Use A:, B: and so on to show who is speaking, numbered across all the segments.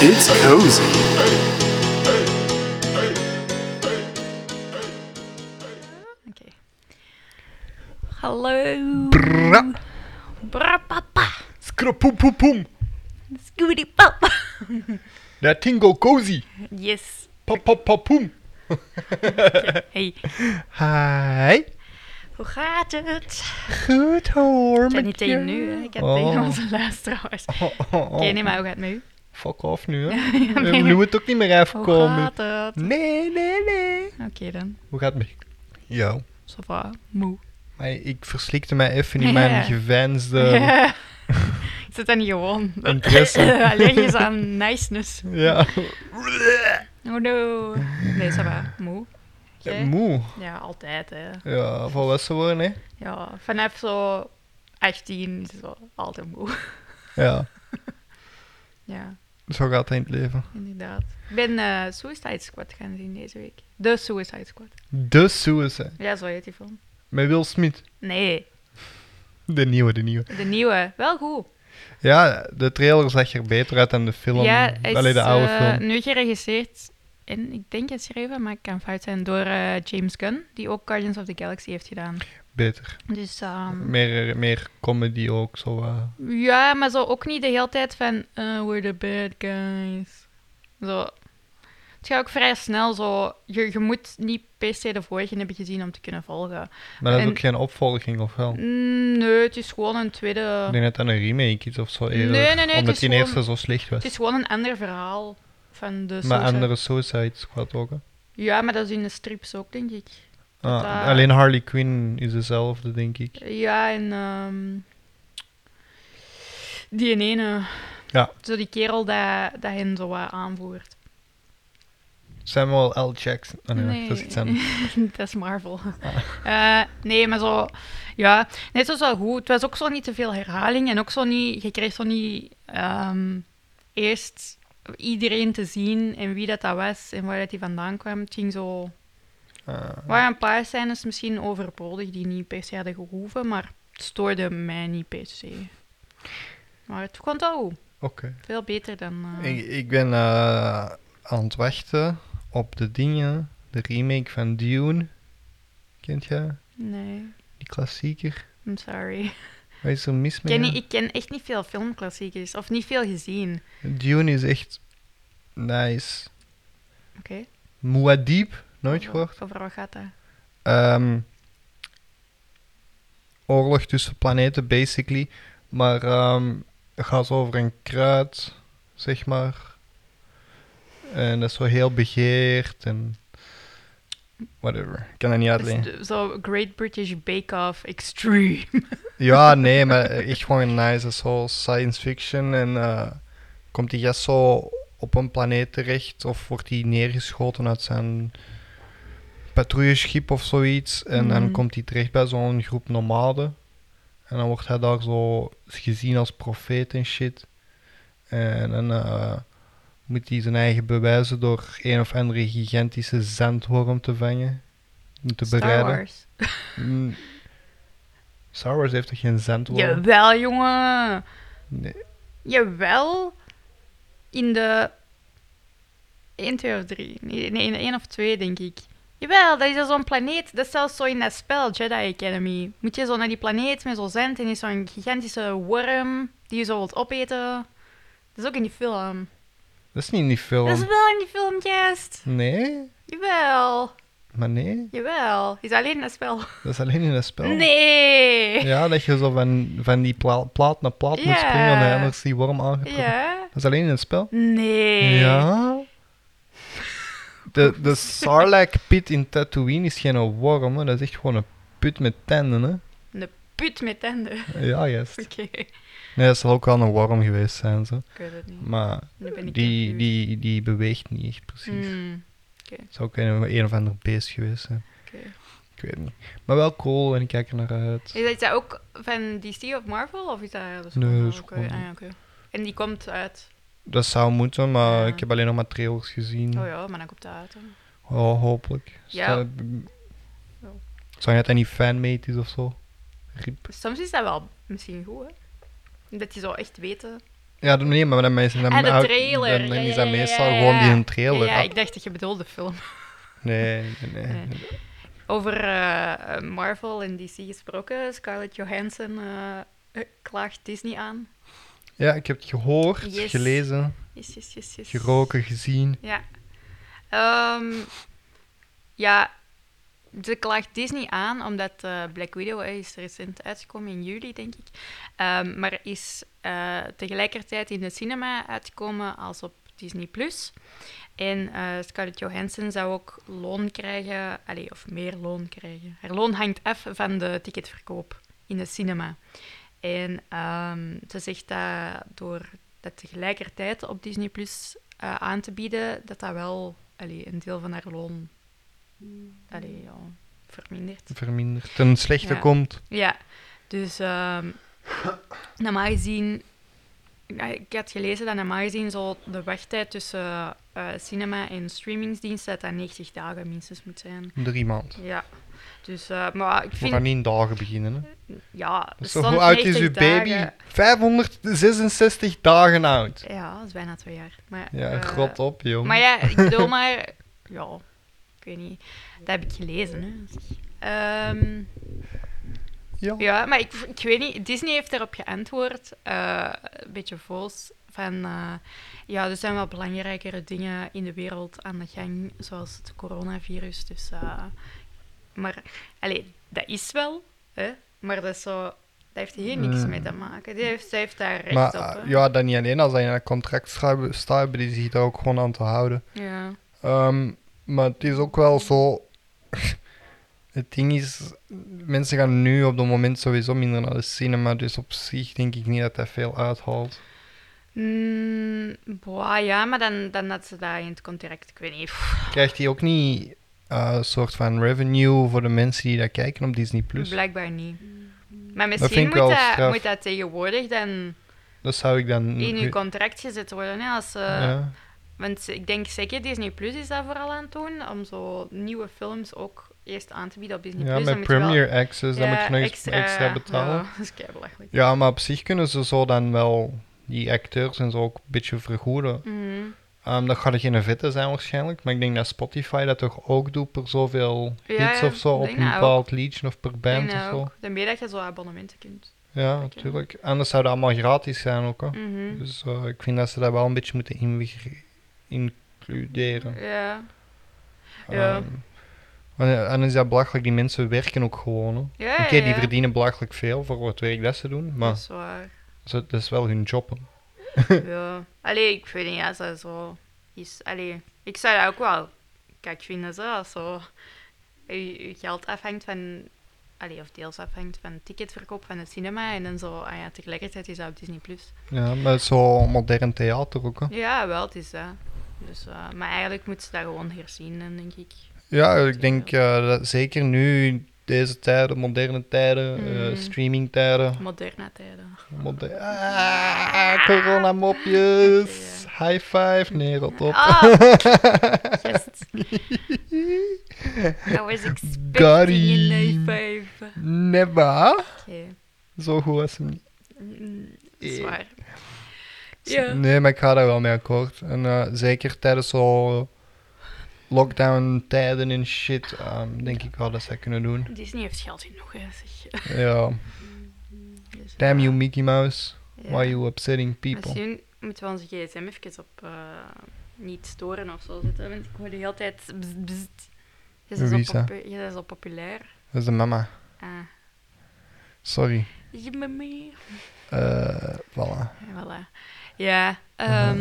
A: It's cozy.
B: Oké. Hallo.
A: Bra.
B: Bra papa.
A: Skrapoepoepoem.
B: Scooty papa.
A: Na tingo cozy.
B: Yes.
A: Papapapoem.
B: Hey,
A: Hi.
B: hoe gaat het?
A: Goed hoor.
B: Ik
A: met
B: zei niet tegen
A: jou.
B: nu, hè. ik heb
A: Oh.
B: tegen onze luisteraars.
A: Oh, oh, oh.
B: Oké, nee, maar hoe gaat het nu?
A: Fuck off nu, hè.
B: Ja,
A: We
B: nee. Oh,
A: moeten het ook niet meer
B: Hoe
A: afkomen.
B: gaat het?
A: Nee, nee, nee.
B: Oké dan.
A: Hoe gaat het met jou?
B: Ça va. Moe.
A: Maar ik verslikte mij even in
B: Ja.
A: mijn geveinsde...
B: Ik zit daar niet gewoon.
A: Interesse.
B: Allergisch aan niceness.
A: Ja.
B: Oh no. Nee, ça va. Moe. Jij?
A: Moe.
B: Ja, altijd hè.
A: Ja, volwassen worden, hè.
B: Ja, vanaf zo 18 is het wel altijd moe.
A: Ja.
B: Ja.
A: Zo gaat het in het leven.
B: Inderdaad. Ik ben eh, Suicide Squad gaan zien deze week. De Suicide Squad.
A: De Suicide.
B: Ja, zo heet die film.
A: Met Will Smith.
B: Nee,
A: De nieuwe, de nieuwe.
B: de nieuwe. Wel goed.
A: Ja, de trailer zag er beter uit dan de film.
B: ja, hij is
A: Allee, de oude
B: eh,
A: film.
B: nu geregisseerd. En ik denk het schreven, maar ik kan fout zijn, door eh, James Gunn, die ook Guardians of the Galaxy heeft gedaan.
A: Beter.
B: Dus ehm,
A: Meer, meer comedy ook, zo. eh.
B: ja, maar zo ook niet de hele tijd van eh, we're the bad guys. Zo. Het gaat ook vrij snel zo. Je, je moet niet per se de vorige hebben gezien om te kunnen volgen.
A: Maar dat is
B: En-
A: ook geen opvolging, of wel?
B: Mm, Nee, het is gewoon een tweede.
A: Ik denk dat dat Oh. een remake is of zo.
B: Nee,
A: Eerder,
B: nee, nee, het
A: Omdat
B: is
A: die
B: gewoon-
A: eerste zo slecht was.
B: Het is gewoon een ander verhaal van de
A: maar
B: Suicide-
A: andere Suicide Squad ook. hè.
B: Ja, maar dat is in de strips ook, denk ik.
A: Ah,
B: dat- eh,
A: Alleen Harley Quinn is dezelfde, denk ik.
B: Ja, en... ehm, die ene...
A: Ja.
B: Zo die kerel dat, dat hen zo wat aanvoert.
A: Samuel L. Jackson. Ah, nee, wacht, dat is iets anders.
B: dat is Marvel.
A: Ah.
B: Eh, nee, maar zo... Ja, net zo wel goed. Het was ook zo niet te veel herhaling. En ook zo niet... Je kreeg zo niet ehm, eerst iedereen te zien en wie dat, dat was en waar dat die vandaan kwam. Het ging zo...
A: Ah,
B: Er waren een paar scènes misschien overbodig die niet per se hadden gehoeven, maar het stoorde mij niet per se. Maar het kon wel goed.
A: Oké.
B: Veel beter dan... eh,
A: Ik, ik ben eh, aan het wachten op de dingen. De remake van Dune. Kent je?
B: Nee,
A: Die klassieker.
B: I'm sorry.
A: Wat is er mis
B: Ik
A: mee?
B: ken, niet- ik ken echt niet veel filmklassiekers, of niet veel gezien.
A: Dune is echt nice.
B: Oké.
A: Muad'Dib, nooit
B: Over-
A: gehoord?
B: Over wat gaat dat?
A: Ehm, oorlog tussen planeten, basically. Maar ehm, het gaat over een kruid, zeg maar. En dat is zo heel begeerd en... Whatever, ik kan dat niet
B: Dat is
A: uitleggen.
B: Dus de- Zo Great British Bake Off Extreme.
A: Ja, nee, maar eh, echt gewoon nice. Dat is zo science fiction. En eh, komt die gast zo op een planeet terecht of wordt hij neergeschoten uit zijn patrouilleschip of zoiets. En dan
B: Mhm.
A: komt hij terecht bij zo'n groep nomaden. En dan wordt hij daar zo gezien als profeet en shit. En dan eh, moet hij zijn eigen bewijzen door een of andere gigantische zandworm te vangen. en Te
B: Star
A: bereiden.
B: Wars.
A: Mm. Star Wars heeft toch geen zandworm?
B: Jawel, jongen.
A: Nee.
B: Jawel. In de 1, 2 of 3. Nee, nee, in de 1 of 2, denk ik. Jawel, dat is zo'n planeet. Dat is zelfs zo in dat spel, Jedi Academy. Moet je zo naar die planeet met zo'n zand en is zo'n gigantische worm die je zo wilt opeten. Dat is ook in die film.
A: Dat is niet in die film.
B: Dat is wel in die film, juist.
A: Nee,
B: Jawel.
A: maar nee.
B: Jawel. Is alleen in dat spel.
A: Dat is alleen in dat spel.
B: Nee. Ja.
A: Oh. Ja, dat je zo van, van die pla- plaat naar plaat moet
B: Ja.
A: springen en anders is die worm aangetrokken. Dat is alleen in het spel.
B: Nee.
A: Ja. De, de Sarlacc pit in Tatooine is geen worm, hè. dat is echt gewoon een put met tanden. Hè.
B: Een put met tanden.
A: Ja, juist.
B: Oké.
A: Nee, dat zal ook wel een worm geweest zijn. Zo.
B: Ik weet het niet.
A: Maar
B: Nu ben ik
A: die,
B: confused.
A: die, die beweegt niet echt precies.
B: Mm,
A: Het zou ook een, een of ander beest geweest zijn.
B: oké.
A: Ik weet het niet. Maar wel cool en ik kijk er naar uit.
B: Is dat- is dat ook van DC of Marvel? Of is dat dat is
A: Nee,
B: gewoon-
A: dat is
B: oké,
A: gewoon-
B: ah ja, oké. En die komt uit.
A: Dat zou moeten, maar
B: Ja.
A: ik heb alleen nog maar trailers gezien.
B: Oh
A: Oh,
B: ja, maar dan komt dat uit. hè.
A: hopelijk.
B: Ja.
A: Zou
B: Ja.
A: Zou je dat niet fanmate is of zo? Riep.
B: Dus Soms is dat wel misschien goed, hè? Dat je zo echt weten
A: Ja, dat- nee, maar dan, is- dan,
B: Ah, de
A: uit-
B: trailer.
A: dan,
B: Ja,
A: dan
B: ja,
A: is dat
B: ja,
A: meestal
B: ja,
A: gewoon die
B: ja.
A: een trailer.
B: Ja,
A: Ah,
B: ik dacht dat je bedoelde film.
A: nee, nee, nee.
B: Nee. Over eh, eh, Marvel en DC gesproken. Scarlett Johansson eh, eh, klaagt Disney aan.
A: Ja, ik heb het gehoord,
B: Yes.
A: gelezen,
B: Yes, yes, yes, yes.
A: geroken, gezien.
B: Ja. Ehm, ja, ze klaagt Disney aan omdat eh, Black Widow eh, is recent uitgekomen in juli, denk ik. Ehm, maar is eh, tegelijkertijd in de cinema uitgekomen als op Disney+. Plus. En eh, Scarlett Johansson zou ook loon krijgen, allee, of meer loon krijgen. Haar loon hangt af van de ticketverkoop in de cinema. En ehm, ze zegt dat door dat tegelijkertijd op Disney Plus eh, aan te bieden, dat dat wel allee, een deel van haar loon allee, ja, vermindert.
A: Verminderd. Ten slechte
B: Ja.
A: komt.
B: Ja, dus ehm normaal gezien, ja, ik had gelezen dat normaal gezien zo de wachttijd tussen eh, cinema en streamingsdiensten dat dat 90 dagen minstens moet zijn.
A: Drie maand.
B: Ja, dus, eh, maar ik
A: We
B: vind,
A: gaan niet in dagen beginnen. Hè.
B: ja, er
A: Dus zo,
B: stond
A: hoe oud is
B: 90
A: uw baby?
B: dagen.
A: 566 dagen oud.
B: Ja, dat is bijna twee jaar. Maar,
A: Ja,
B: eh,
A: grot op, jong.
B: Maar ja, ik bedoel maar... Ja, ik weet niet. Dat heb ik gelezen, hè. Ehm,
A: Ja.
B: ja, maar ik, ik weet niet. Disney heeft daarop geantwoord. eh, een beetje vols. Van, eh, ja, er zijn wel belangrijkere dingen in de wereld aan de gang. Zoals het coronavirus. Dus, eh, maar, allee, dat is wel. Hè, maar dat is zo... Dat heeft hier niks
A: Mm.
B: mee te maken. Die heeft, zij heeft daar recht
A: Maar,
B: op. hè.
A: eh, ja, dan niet alleen als hij in een contract schrijven- staat, hebben die zich daar ook gewoon aan te houden.
B: ja.
A: Ehm, maar het is ook wel zo. Het ding is, mensen gaan nu op dat moment sowieso minder naar de cinema, dus op zich denk ik niet dat dat veel uithaalt.
B: Mm, boah, ja, maar dan, dan had ze dat in het contract. Ik weet niet. pff,
A: Krijgt hij ook niet eh, een soort van revenue voor de mensen die dat kijken op Disney Plus?
B: Blijkbaar niet. Maar
A: Dus- vind ik
B: misschien
A: wel
B: moet dat,
A: straf.
B: moet dat tegenwoordig dan
A: Dat zou ik dan.
B: in uw contract gezet worden. Hè, als, eh,
A: Ja.
B: Want ze- ik denk zeker Disney Plus is dat vooral aan het doen. Om zo nieuwe films ook eerst aan te bieden op Disney
A: Ja,
B: Plus.
A: met Premier Access, dan moet je nog eens extra, betalen.
B: Ja, dat is kei belachelijk.
A: Ja, maar op zich kunnen ze zo dan wel die acteurs en zo ook een beetje vergoeden.
B: Mhm.
A: Ehm, dat gaat er geen vette zijn waarschijnlijk, maar ik denk dat Spotify dat toch ook doet per zoveel
B: Ja,
A: hits
B: ja,
A: of zo,
B: ik
A: op een
B: denk dat
A: bepaald liedje of per
B: Ik
A: band
B: denk
A: of
B: dat
A: zo.
B: ook. Dan meer dat je zo abonnementen kunt.
A: Ja,
B: Oké.
A: natuurlijk. Anders zou dat allemaal gratis zijn ook. Hè.
B: Mhm.
A: Dus eh, ik vind dat ze dat wel een beetje moeten inweg- includeren.
B: Ja. Ja.
A: Ehm, want, eh, en is dat belachelijk, die mensen werken ook gewoon. hè.
B: Ja,
A: Oké,
B: ja, Dus-
A: die
B: ja.
A: verdienen belachelijk veel voor het werk dat ze doen, maar
B: Dat is waar.
A: ze- dat is wel hun job. hè.
B: Ja, allee, ik weet niet als dat zo is. Allee, ik zou dat ook wel kijk vinden, zo, als zo je, je geld afhangt van, allee, of deels afhangt van ticketverkoop van het cinema en dan zo, ah ja, tegelijkertijd is dat op Disney+. Plus.
A: Ja, maar het is zo modern theater ook. Hè.
B: Ja, wel, het is dat. Dus, eh, maar eigenlijk moeten ze dat gewoon herzien, dan denk ik.
A: Ja, ik denk eh, dat zeker nu, deze tijden, moderne tijden, eh
B: Mhm.
A: streamingtijden.
B: Moderne tijden.
A: moder- ah, coronamopjes. High five. Nee, rot op.
B: Ah, just, I was expecting a
A: Gary.
B: high five. Oké,
A: Never. Zo goed was hem niet.
B: mm, dat is
A: Eh.
B: waar. Ja.
A: Nee, maar ik ga daar wel mee akkoord. En eh, zeker tijdens zo lockdown-tijden en shit, ehm, denk ik wel dat ze dat kunnen doen.
B: Disney heeft geld genoeg, hè, zeg.
A: Ja.
B: Dus, eh,
A: Damn you, Mickey Mouse.
B: ja.
A: Why you upsetting people?
B: Misschien moeten we onze gsm even op eh, niet storen of zo zetten, want ik hoor de hele tijd... bzz, bzz. Je bent
A: Wie
B: zo
A: is dat?
B: popu- Je bent zo populair.
A: Dat is de mama.
B: Ah.
A: Sorry.
B: Je bent mee.
A: Eh, voilà.
B: Voilà. Ja, ehm,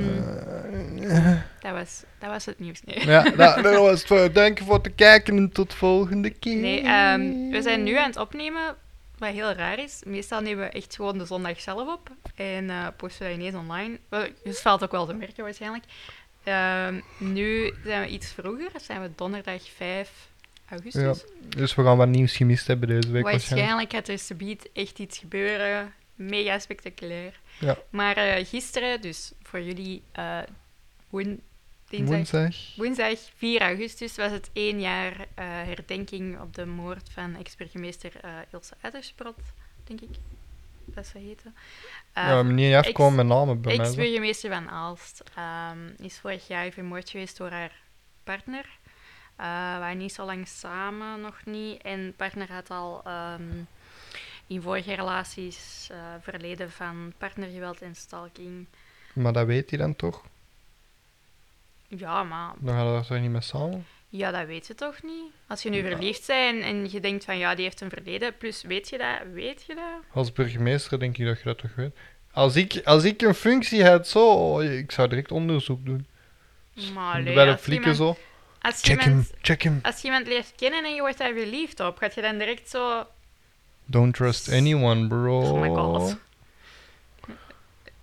A: Eh,
B: dat, was, dat was het nieuws. Nee,
A: ja, nou, dat was het. voor. Dank je voor het kijken en tot volgende keer.
B: nee ehm, we zijn nu aan het opnemen, wat heel raar is. Meestal nemen we echt gewoon de zondag zelf op en eh, posten we dat ineens online. Wel, Dus valt ook wel te merken waarschijnlijk. Ehm, nu zijn we iets vroeger, zijn we donderdag 5 augustus.
A: Ja. Dus we gaan wat nieuws gemist hebben deze week waarschijnlijk.
B: Waarschijnlijk gaat er subiet echt iets gebeuren. Mega spectaculair.
A: Ja.
B: Maar eh, gisteren, dus voor jullie eh, woen- dinsdag,
A: Woensdag.
B: woensdag 4 augustus, was het één jaar eh, herdenking op de moord van ex-burgemeester eh, Ilse Uiterstrot, denk ik. dat ze heten.
A: ja,
B: Eh
A: meneer F
B: ex-
A: kwam met namen bij mij. zo.
B: Ex-burgemeester van Aalst ehm, is vorig jaar vermoord geweest door haar partner. Eh, we waren niet zo lang samen, nog niet. En partner had al ehm, in vorige relaties eh, verleden van partnergeweld en stalking.
A: Maar dat weet hij dan toch?
B: Ja, maar
A: Dan gaan we daar toch niet mee samen?
B: ja, dat weet je toch niet? Als je nu verliefd bent en, en je denkt van ja, die heeft een verleden, plus weet je dat, weet je dat?
A: Als burgemeester denk ik dat je dat toch weet. Als ik, als ik een functie had, zo, oh, ik zou direct onderzoek doen.
B: Maar allee,
A: bij de
B: als
A: flikken
B: iemand-
A: zo.
B: als
A: Check hem,
B: iemand-
A: check hem.
B: Als je iemand leert kennen en je wordt daar verliefd op, gaat je dan direct zo
A: Don't trust anyone, bro.
B: Oh my god. eh.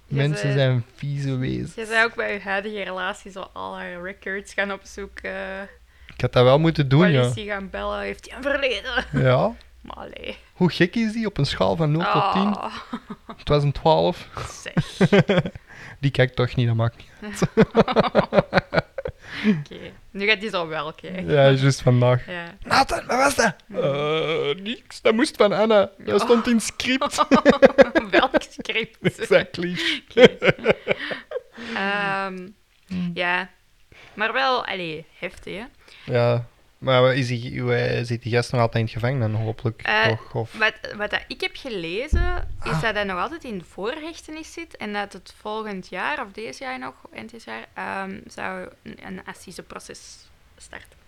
B: Je
A: Mensen
B: zei-
A: zijn vieze wezens.
B: Je zou ook bij je huidige relatie zo al haar records gaan opzoeken.
A: Ik had dat wel moeten doen, ja.
B: politie gaan bellen. Heeft hij een verleden?
A: Ja.
B: Maar allee.
A: Hoe gek is die op een schaal van 0 tot 10?
B: Oh,
A: 2012?
B: zeg.
A: Die kijkt toch niet, dat maakt niet.
B: Oké. Nu gaat die zo wel kijken.
A: Ja, juist vandaag.
B: Ja.
A: Nathan, wat was dat? Eh, niks, dat moest van Anna. Dat
B: Ja.
A: stond in het script.
B: Welk script?
A: exactly.
B: Oké. Ehm, ja. Maar wel, allee, heftig, hè?
A: Ja, maar is die, eh, zit die gast nog altijd in het gevangenis, hopelijk?
B: Eh,
A: toch? Of,
B: Wat, wat dat ik heb gelezen, is dat hij nog altijd in voorhechtenis zit en dat het volgend jaar, of deze jaar nog, eind dit jaar, ehm, zou een, een assiseproces starten.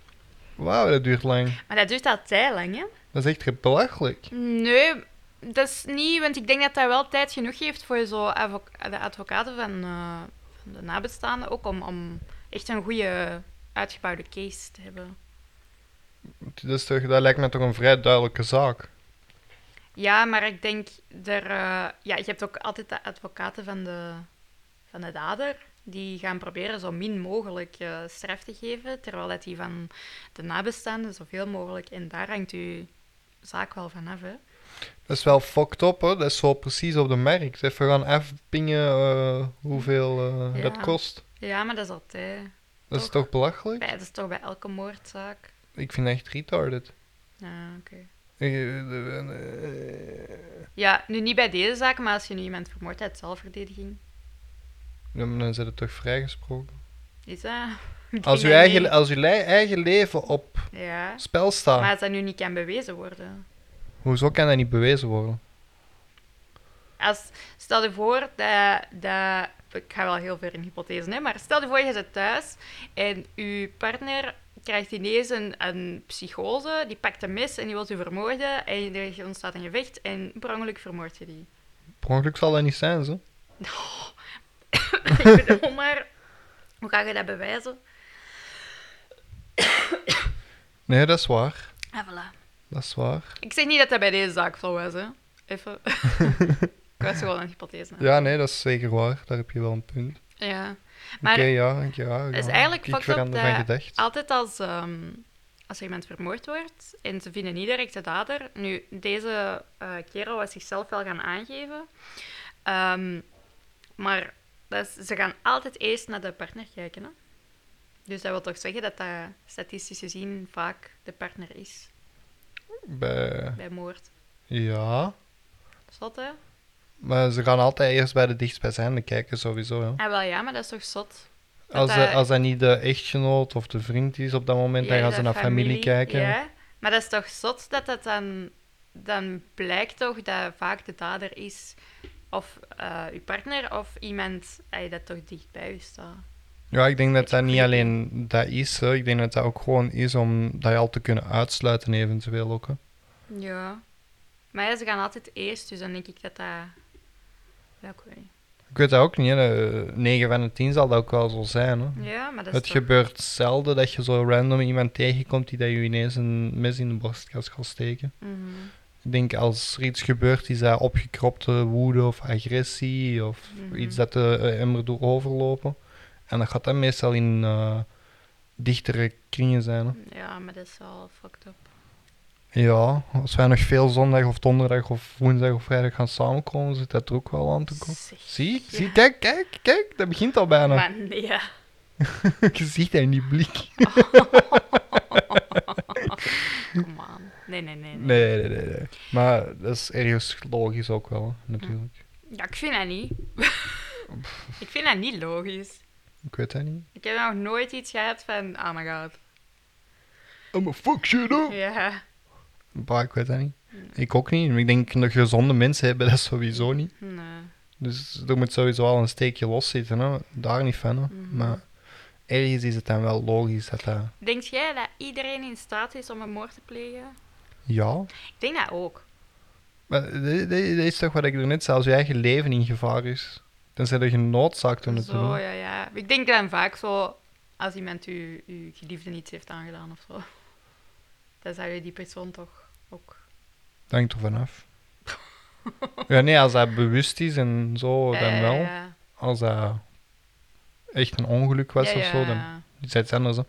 A: Wauw, dat duurt lang.
B: Maar dat duurt al tijd lang, hè?
A: Dat is echt belachelijk.
B: Nee, dat is niet, want ik denk dat dat wel tijd genoeg geeft voor zo avo- de advocaten van, eh, van de nabestaanden, ook om, om echt een goede uitgebouwde case te hebben.
A: Dat, is toch, dat lijkt me toch een vrij duidelijke zaak.
B: Ja, maar ik denk, er, eh, ja, je hebt ook altijd de advocaten van de, van de dader. Die gaan proberen zo min mogelijk eh, straf te geven, terwijl dat die van de nabestaanden zoveel mogelijk... En daar hangt uw zaak wel van af, hè.
A: Dat is wel fucked up, hoor. Dat is zo precies op de markt. Even gaan afpingen eh, hoeveel eh,
B: Ja.
A: dat kost.
B: Ja, maar dat is altijd...
A: Dat is
B: Toch?
A: toch belachelijk?
B: Bij, dat is toch bij elke moordzaak?
A: Ik vind dat echt retarded.
B: Ja, oké.
A: Eh, eh, eh,
B: Ja, nu niet bij deze zaak, maar als je nu iemand vermoord uit zelfverdediging.
A: Dan dan zijn het toch vrijgesproken.
B: Is dat... Ik
A: Als uw
B: denk dat
A: eigen,
B: niet.
A: als uw le- eigen leven op
B: Ja.
A: spel staat,
B: Maar als dat nu niet kan bewezen worden.
A: hoezo kan dat niet bewezen worden?
B: Als, stel je voor dat, dat... Ik ga wel heel ver in hypothese, hè, maar stel je voor je zit thuis en je partner krijgt ineens een, een psychose, die pakt een mes en die wil je vermoorden en er ontstaat een gevecht en per ongeluk vermoord je die.
A: Per ongeluk zal dat niet zijn, zo.
B: Ik bedoel maar, hoe ga je dat bewijzen?
A: Nee, dat is waar.
B: Ah, voilà.
A: Dat is waar.
B: Ik zeg niet dat dat bij deze zaak zo was, hè. Even. ik was gewoon een hypothese. hè.
A: Ja, nee, dat is zeker waar. Daar heb je wel een punt.
B: Ja.
A: Oké,
B: Maar
A: ja, ik- ja, ja.
B: het is eigenlijk
A: ik
B: fucked up
A: verander van
B: dat
A: gedacht.
B: altijd als, ehm, als er iemand vermoord wordt en ze vinden niet direct de dader. Nu, deze eh, kerel was zichzelf wel gaan aangeven. Ehm, maar dat is- ze gaan altijd eerst naar de partner kijken, hè. Dus dat wil toch zeggen dat dat statistisch gezien vaak de partner is
A: Bij...
B: bij moord.
A: Ja,
B: Zot, hè?
A: maar ze gaan altijd eerst bij de dichtstbijzijnde kijken, sowieso. Ja.
B: Ah, wel ja, maar dat is toch zot? dat
A: Als,
B: dat-
A: dat... als dat niet de echtgenoot of de vriend is op dat moment, dan
B: Ja,
A: gaan ze
B: dat
A: naar familie, kijken.
B: Ja, maar dat is toch zot dat dat dan... Dan blijkt toch dat vaak de dader is of eh uw partner of iemand ey, dat toch dicht bij u staat.
A: Ja, ik denk dat dat niet
B: creepy.
A: alleen dat is. Hè. Ik denk dat dat ook gewoon is om dat je al te kunnen uitsluiten, eventueel ook. Hè.
B: Ja. Maar ja, ze gaan altijd eerst, dus dan denk ik dat dat... Ja, ik weet niet.
A: Ik weet dat ook niet. Hè. 9 van de 10 zal dat ook wel zo zijn. Hè.
B: Ja, maar dat is
A: Het
B: toch...
A: gebeurt zelden dat je zo random iemand tegenkomt die dat je ineens een mes in de borstkas gaat steken.
B: Mhm.
A: Ik denk als er iets gebeurt, is dat opgekropte woede of agressie of
B: Mhm.
A: iets dat de eh, emmer door overlopen. En dat gaat dan meestal in eh, dichtere kringen zijn. Hè.
B: Ja, maar dat is wel fucked up.
A: Ja, als wij nog veel zondag of donderdag of woensdag of vrijdag gaan samenkomen, zit dat er ook wel aan te komen.
B: Zeg.
A: Zie,
B: Ja.
A: zie, kijk, kijk, kijk, dat begint al bijna.
B: Maar nee, ja.
A: Je ziet dat in die blik.
B: Kom aan. Nee, nee, nee. nee.
A: Nee, nee, nee. nee. Maar dat is ergens logisch ook wel, hè, natuurlijk.
B: Ja, ik vind dat niet. ik vind dat niet logisch.
A: Ik weet dat niet.
B: Ik heb nog nooit iets gehad van, oh my god.
A: I'm a fuck shit up.
B: Ja.
A: Bah, ik weet dat niet. Ik ook niet. Maar Ik denk dat gezonde mensen hebben dat sowieso
B: Mhm.
A: niet.
B: Nee.
A: Dus er moet sowieso al een steekje los zitten. Hè. Daar niet van. Hè.
B: Mhm.
A: Maar ergens is het dan wel logisch dat dat...
B: Denk jij dat iedereen in staat is om een moord te plegen?
A: Ja.
B: Ik denk dat ook.
A: Maar dat dat- dat is toch wat ik er net zei. Als je eigen leven in gevaar is, dan zijn er genoodzaakt om het te doen.
B: Zo, ja, ja. Ik denk dan vaak zo, als iemand u, uw geliefde iets heeft aangedaan of zo, dan zou je die persoon toch ook...
A: Dat hangt er vanaf. ja, nee, als dat bewust is en zo,
B: Ja,
A: Oh, dan
B: ja,
A: wel.
B: eh, ja.
A: Als dat echt een ongeluk was
B: Ja,
A: of zo, dan
B: ja.
A: is het iets anders. hè.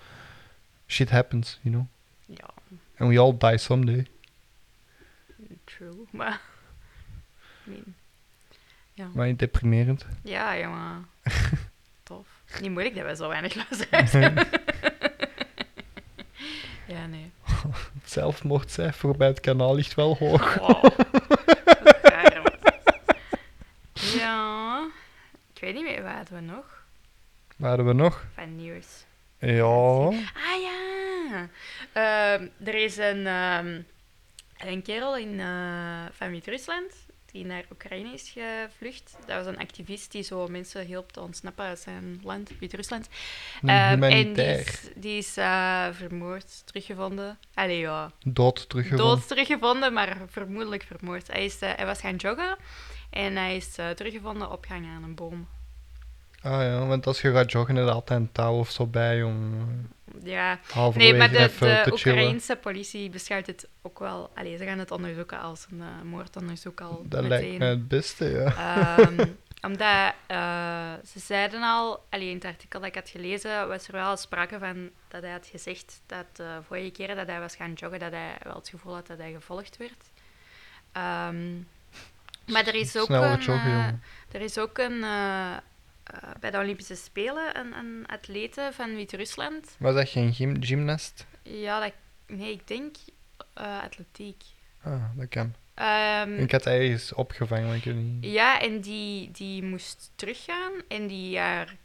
A: Shit happens, you know.
B: Ja,
A: And we all die someday.
B: true. Maar... I mean,
A: Maar niet deprimerend.
B: Ja, jongen. Tof. Niet moeilijk dat we zo weinig luisteraars hebben. ja, nee.
A: Het zelfmoordcijfer bij het kanaal ligt wel hoog.
B: Wow. Wat raar, hoor. Ja. Ik weet niet meer wat hadden we nog
A: Waar hadden we nog?
B: van nieuws.
A: Ja.
B: Ah ja. Ehm, er is een, ehm, een kerel in, eh, van Wit-Rusland die naar Oekraïne is gevlucht. Dat was een activist die zo mensen hielp te ontsnappen uit zijn land, Wit-Rusland.
A: Een
B: Ehm, en die
A: humanitair.
B: is, die is eh, vermoord, teruggevonden. Allee, ja.
A: Dood teruggevonden.
B: Dood teruggevonden, maar vermoedelijk vermoord. Hij, is, eh, hij was gaan joggen en hij is eh, teruggevonden opgehangen aan een boom.
A: Ah ja, want als je gaat joggen, heb je altijd een touw of zo bij om
B: Ja,
A: halverwege
B: nee, maar eh, de,
A: even
B: de
A: te chillen.
B: Oekraïnse politie beschouwt het ook wel... Allee, ze gaan het onderzoeken als een eh, moordonderzoek al
A: Dat lijkt
B: meteen.
A: me het beste, ja.
B: Ehm, omdat eh, ze zeiden al, alleen in het artikel dat ik had gelezen, was er wel sprake van dat hij had gezegd dat de vorige keer dat hij was gaan joggen, dat hij wel het gevoel had dat hij gevolgd werd. Ehm, maar er is ook
A: Sneller
B: een,
A: joggen,
B: eh,
A: jongen.
B: er is ook een eh, eh, bij de Olympische Spelen een, een atlete van Wit-Rusland.
A: Was dat geen gym gymnast?
B: Ja, dat, nee, ik denk eh, atletiek.
A: Ah, dat kan.
B: Ehm,
A: Ik had ergens opgevangen, maar ik weet niet.
B: Ja, en die, die moest teruggaan. En die haar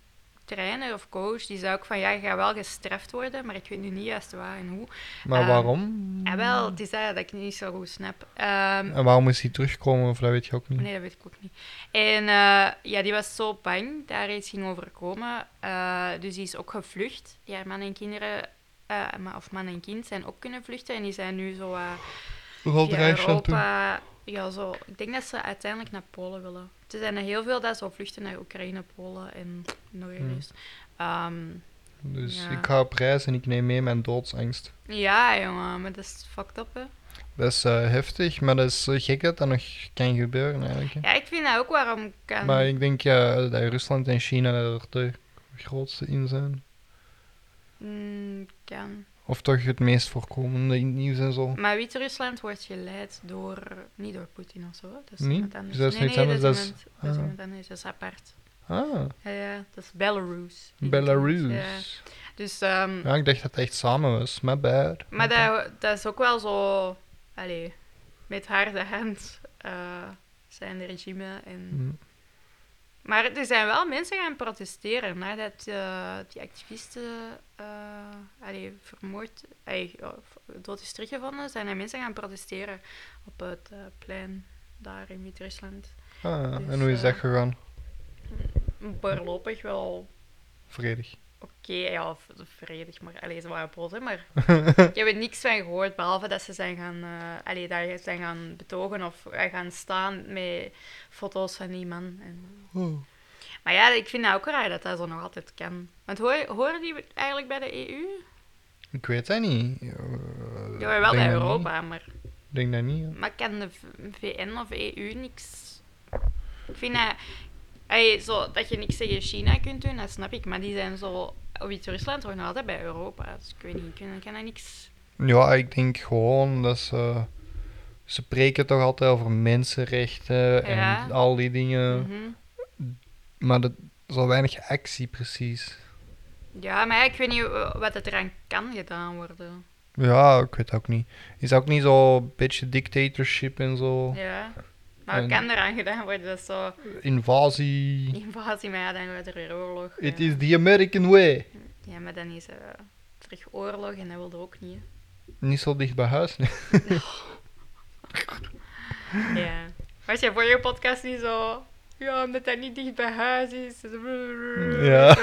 B: trainer of coach, die zei ook van... Ja, je gaat wel gestraft worden, maar ik weet nu niet juist waar en hoe.
A: Maar
B: Ehm,
A: waarom?
B: En wel, die zei dat ik niet zo goed snap. Ehm,
A: En waarom is hij teruggekomen, of dat weet je ook niet.
B: Nee, dat weet ik ook niet. En eh, ja, die was zo bang daar iets ging overkomen. Eh, dus die is ook gevlucht. Die haar man en kinderen... eh, ma- of man en kind zijn ook kunnen vluchten. En die zijn nu zo eh,
A: Rol de
B: via
A: reis van toe.
B: Europa... Ja, zo. Ik denk dat ze uiteindelijk naar Polen willen. Er zijn er heel veel dat zo vluchten naar Oekraïne, Polen en
A: Hmm.
B: nog ergens. Ehm,
A: Dus
B: Ja.
A: ik ga op reis en ik neem mee mijn doodsangst.
B: ja, jongen. Maar dat is fucked up, hè.
A: Dat is eh, heftig, maar dat is eh, gek dat dat nog kan gebeuren eigenlijk. hè.
B: Ja, ik vind dat ook waarom kan...
A: Maar ik denk ja, dat Rusland en China er de grootste in zijn.
B: Mm, kan.
A: Of toch het meest voorkomende in het nieuws en zo.
B: Maar Wit-Rusland wordt geleid door... Niet door Poetin of zo. hè. Dat is
A: Nee?
B: iemand anders.
A: Dus dat is
B: nee,
A: niks
B: nee,
A: anders,
B: Dat is,
A: dat is-
B: iemand, dat is
A: ah.
B: iemand anders. Dat is apart.
A: Ah,
B: Ja, ja. Dat is Belarus. Ja.
A: Belarus.
B: Dus... ehm,
A: Ja, ik dacht dat het echt samen was. My bad.
B: Maar dat, dat is ook wel zo... Allee, met harde hand eh, zijn regime en...
A: Hm.
B: Maar er zijn wel mensen gaan protesteren nadat eh, die activisten eh, allee, vermoord, allee, ja, v- dood is teruggevonden, zijn er mensen gaan protesteren op het eh, plein daar in Wit-Rusland.
A: Ah,
B: Dus,
A: en hoe is dat
B: eh,
A: gegaan?
B: Voorlopig wel
A: Vredig.
B: oké, ja, v- vredig, maar allee, ze waren boos, hè, maar ik heb er niks van gehoord, behalve dat ze zijn gaan, eh, allee, daar zijn gaan betogen of eh, gaan staan met foto's van die man en... Maar ja, ik vind dat ook raar dat dat zo nog altijd kan. Want hoor, horen die eigenlijk bij de EU?
A: Ik weet dat niet. Eh,
B: Die horen wel
A: denk
B: bij
A: dat
B: Europa, maar,
A: niet. Ik denk dat niet. ja.
B: maar kan de V- VN of EU niks... Ik vind dat... Ey, zo, dat je niks tegen China kunt doen, dat snap ik. Maar die zijn zo... Of iets Rusland hoort nog altijd bij Europa. Dus ik weet niet, ik kan, kan dat niks...
A: Ja, ik denk gewoon dat ze... Ze preken toch altijd over mensenrechten en
B: Ja.
A: al die dingen.
B: Mhm.
A: Maar dat is al weinig actie precies.
B: Ja, maar ja, ik weet niet eh, wat het eraan kan gedaan worden.
A: Ja, ik weet ook niet. Is ook niet zo'n beetje dictatorship en zo.
B: Ja. Maar
A: Oh. En-
B: wat kan eraan gedaan worden? Dat is zo
A: Invasie.
B: invasie, maar ja, dan wordt er weer oorlog.
A: It
B: ja.
A: is the American way.
B: ja, maar dan is er eh, terug oorlog en dat wilde ook niet. hè.
A: Niet zo dicht bij huis. nee.
B: Ja. Was je voor je podcast niet zo... Ja, omdat dat niet dicht bij huis is.
A: Ja.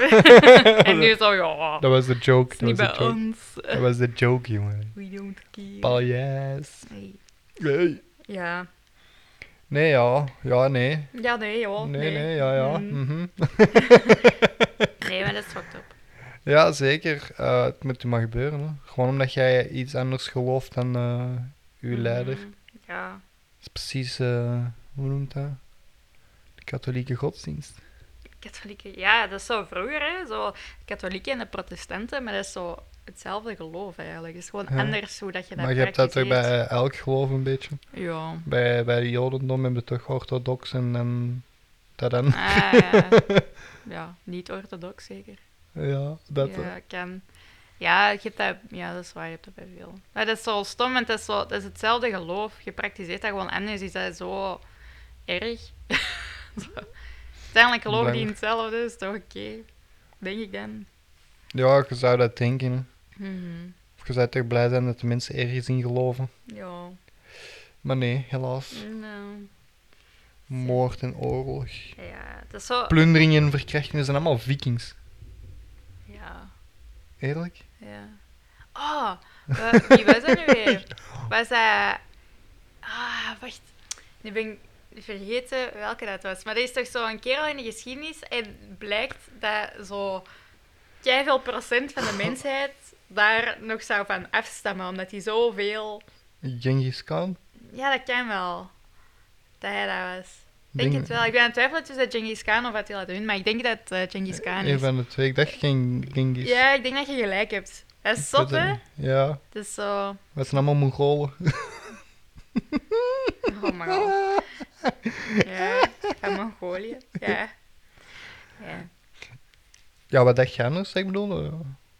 B: en nu zo, ja,
A: Dat was de joke.
B: is niet
A: Dat was de
B: bij
A: joke.
B: ons.
A: Dat was de joke, jongen.
B: We don't care.
A: Paljas.
B: Nee.
A: Nee.
B: Ja.
A: Nee, ja. Ja, nee.
B: Ja, nee, joh.
A: Nee, nee, ja, ja.
B: Mm.
A: Mhm.
B: Nee, maar dat is fucked up.
A: Ja, zeker. Eh, het moet je maar gebeuren. Hè. Gewoon omdat jij iets anders gelooft dan eh uw leider.
B: Mm, Ja.
A: Dat is precies, eh, hoe noemt dat? De katholieke godsdienst.
B: Katholieken, ja, dat is zo vroeger, hè. Zo, katholieken en de protestanten, maar dat is zo hetzelfde geloof eigenlijk. Het is gewoon
A: Ja.
B: anders hoe dat je dat
A: maar je hebt dat toch
B: praktiseert.
A: bij elk geloof een beetje.
B: Ja.
A: Bij, bij de Jodendom hebben we toch orthodox en, en dat dan.
B: Ah, ja. ja, niet orthodox zeker.
A: Ja, dat.
B: ja, kan. Ja, je hebt dat, ja, dat is waar, je hebt dat bij veel. Maar dat is zo stom, want dat is, zo, dat is hetzelfde geloof. Je praktiseert dat gewoon anders, is dat zo erg. Zo. Uiteindelijk geloof die in
A: Blijkbaar.
B: hetzelfde, dus toch oké. Denk ik dan.
A: Ja, je zou dat denken.
B: Mhm.
A: Of je zou toch blij zijn dat de mensen ergens in geloven.
B: Ja,
A: Maar nee, helaas.
B: nou,
A: Moord en oorlog.
B: ja, dat is zo...
A: Plundering en verkrachtingen zijn allemaal vikings.
B: Ja,
A: Eerlijk?
B: ja. Oh, wa- wie was dat nu weer? Was dat... Ah, wacht. Nu ben ik vergeten welke dat was. Maar er is toch zo'n kerel in de geschiedenis en blijkt dat zo... veel procent van de mensheid daar nog zou van afstammen, omdat hij zoveel...
A: Genghis Khan?
B: Ja, dat kan wel. Dat hij dat was. Ik
A: Ding-
B: denk het wel. Ik ben aan het twijfelen tussen Genghis Khan of Attila de Hun, maar ik denk dat eh, Genghis Khan
A: Een
B: is.
A: van de twee. Ik dacht geen Genghis.
B: Ja, ik denk dat je gelijk hebt. Dat is
A: Ik weet
B: zot, hè?
A: het niet. Ja,
B: Het is zo...
A: we zijn allemaal Mongolen.
B: Oh my god. Ja, en Mongolië. Ja. Ja,
A: Ja, wat dacht je anders? Ik bedoel, eh,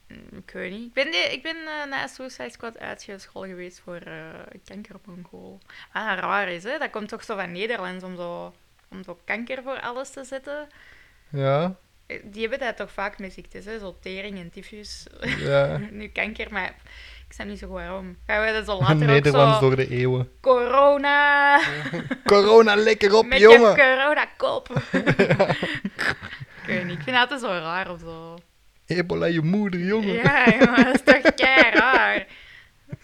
B: Mm, ik weet niet. Ik ben, de- ik ben eh, na Suicide Squad uitgescholden geweest voor eh kanker op Mongool. Wat dat raar is, hè? Dat komt toch zo van Nederlands om zo, om zo kanker voor alles te zetten.
A: ja,
B: Eh, Die hebben dat toch vaak met ziektes, hè? Zo tering en tyfus.
A: ja.
B: nu kanker, maar ik snap niet zo goed waarom. Gaan we dat zo later
A: Nederlands
B: ook zo...
A: door de eeuwen.
B: Corona!
A: Corona, lekker op,
B: Met
A: jongen!
B: je corona-kop! ik weet niet, ik vind dat altijd zo raar of zo.
A: Ebola, je moeder, jongen. Ja,
B: Ja, jongen, dat is toch kei raar.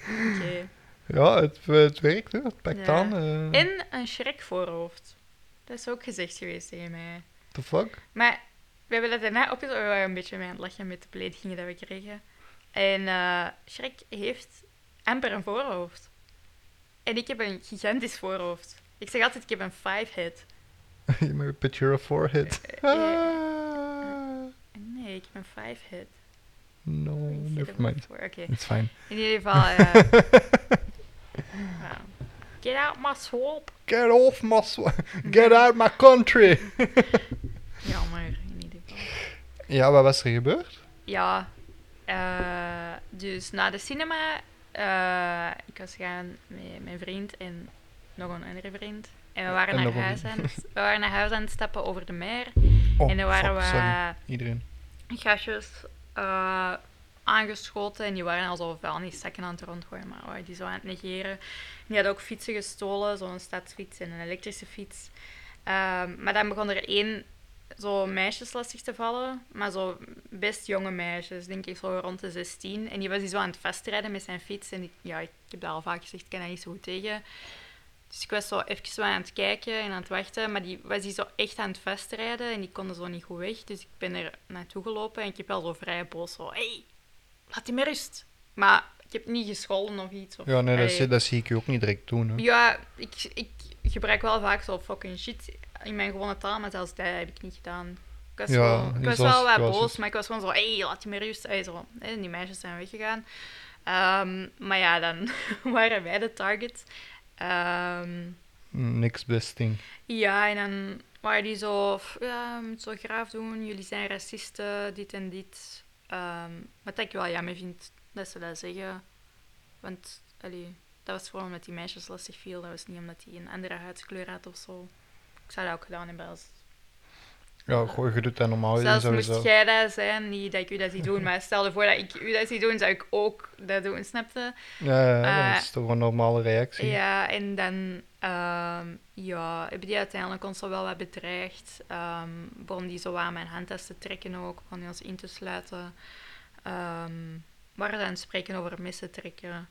B: Oké.
A: het, eh, het werkt, hè. het pakt
B: Ja.
A: aan. eh.
B: En een schrikvoorhoofd. Dat is ook gezegd geweest tegen mij.
A: The fuck?
B: Maar we hebben dat daarna ook we waren een beetje mee aan het lachen met de beledigingen dat we kregen. En eh Shrek heeft amper een voorhoofd. En ik heb een gigantisch voorhoofd. Ik zeg altijd, ik heb een five-head.
A: je moet een picture of forehead.
B: Eh,
A: Ah.
B: Nee, ik heb een five-head.
A: No,
B: eh. Ik zit
A: Oh, never
B: er wel
A: mind.
B: voor, Oké.
A: It's fine.
B: In ieder geval, eh wow. Get out my swamp.
A: Get off my... sw- Get out my country!
B: Ja, maar in ieder geval.
A: Ja, wat was er gebeurd?
B: Ja, eh, dus na de cinema, eh, ik was gaan met mijn vriend en nog een andere vriend. En we waren,
A: En
B: naar
A: nog een
B: huis, aan, het- we waren naar huis aan het stappen over de meer.
A: Oh,
B: en dan waren
A: fuck, sorry. Iedereen.
B: we gastjes eh, aangeschoten en die waren al zo vuilniszakken aan het rondgooien, maar oh, die zo aan het negeren. Die hadden ook fietsen gestolen, zo'n stadsfiets en een elektrische fiets. Ehm, maar dan begon er één zo meisjes lastig te vallen, maar zo best jonge meisjes, denk ik zo rond de 16. En die was die zo aan het vastrijden met zijn fiets. En ik, ja, ik heb dat al vaak gezegd, ik kan daar niet zo goed tegen. Dus ik was zo even zo aan het kijken en aan het wachten, maar die was die zo echt aan het vastrijden en die konden zo niet goed weg. Dus ik ben er naartoe gelopen en ik heb wel zo vrij boos zo, hey, laat die maar rust. Maar ik heb niet gescholden of iets. Of,
A: Ja, nee, dat,
B: Allee.
A: zie, dat zie ik je ook niet direct doen. Hè.
B: Ja, ik, ik gebruik wel vaak zo fucking shit in mijn gewone taal, maar zelfs dat heb ik niet gedaan. Ik was,
A: Ja,
B: wel, ik
A: niet
B: was
A: zoals
B: wel
A: ik
B: wat
A: was,
B: boos,
A: dus.
B: maar ik was gewoon zo, hé, hey, laat je me rust. Hey, zo. En die meisjes zijn weggegaan. Ehm, maar ja, dan waren wij de target. Ehm,
A: Niks besting.
B: ja, en dan waren die zo, "F- ja, je moet zo graaf doen, jullie zijn racisten, dit en dit. Ehm, wat ik wel jammer vind, dat ze dat zeggen. Want allee, dat was gewoon omdat die meisjes lastig viel. Dat was niet omdat hij een andere huidskleur had of zo. Ik zou dat ook gedaan hebben als.
A: Ja, gooi, je doet dat normaal gezien
B: Zelfs
A: Oh, sowieso.
B: moest jij dat zijn, niet dat ik u dat zie doen, maar stel ervoor dat ik u dat zie doen, zou ik ook dat doen, snapte?
A: Ja, ja, ja, dat
B: Eh,
A: is toch een normale reactie.
B: Ja, en dan, ehm, ja, ik bedoel, uiteindelijk ons al wel wat bedreigd. Ehm begon die zo aan mijn handtas te trekken ook, begon die ons in te sluiten. Ehm we waren dan aan het spreken over messen trekken.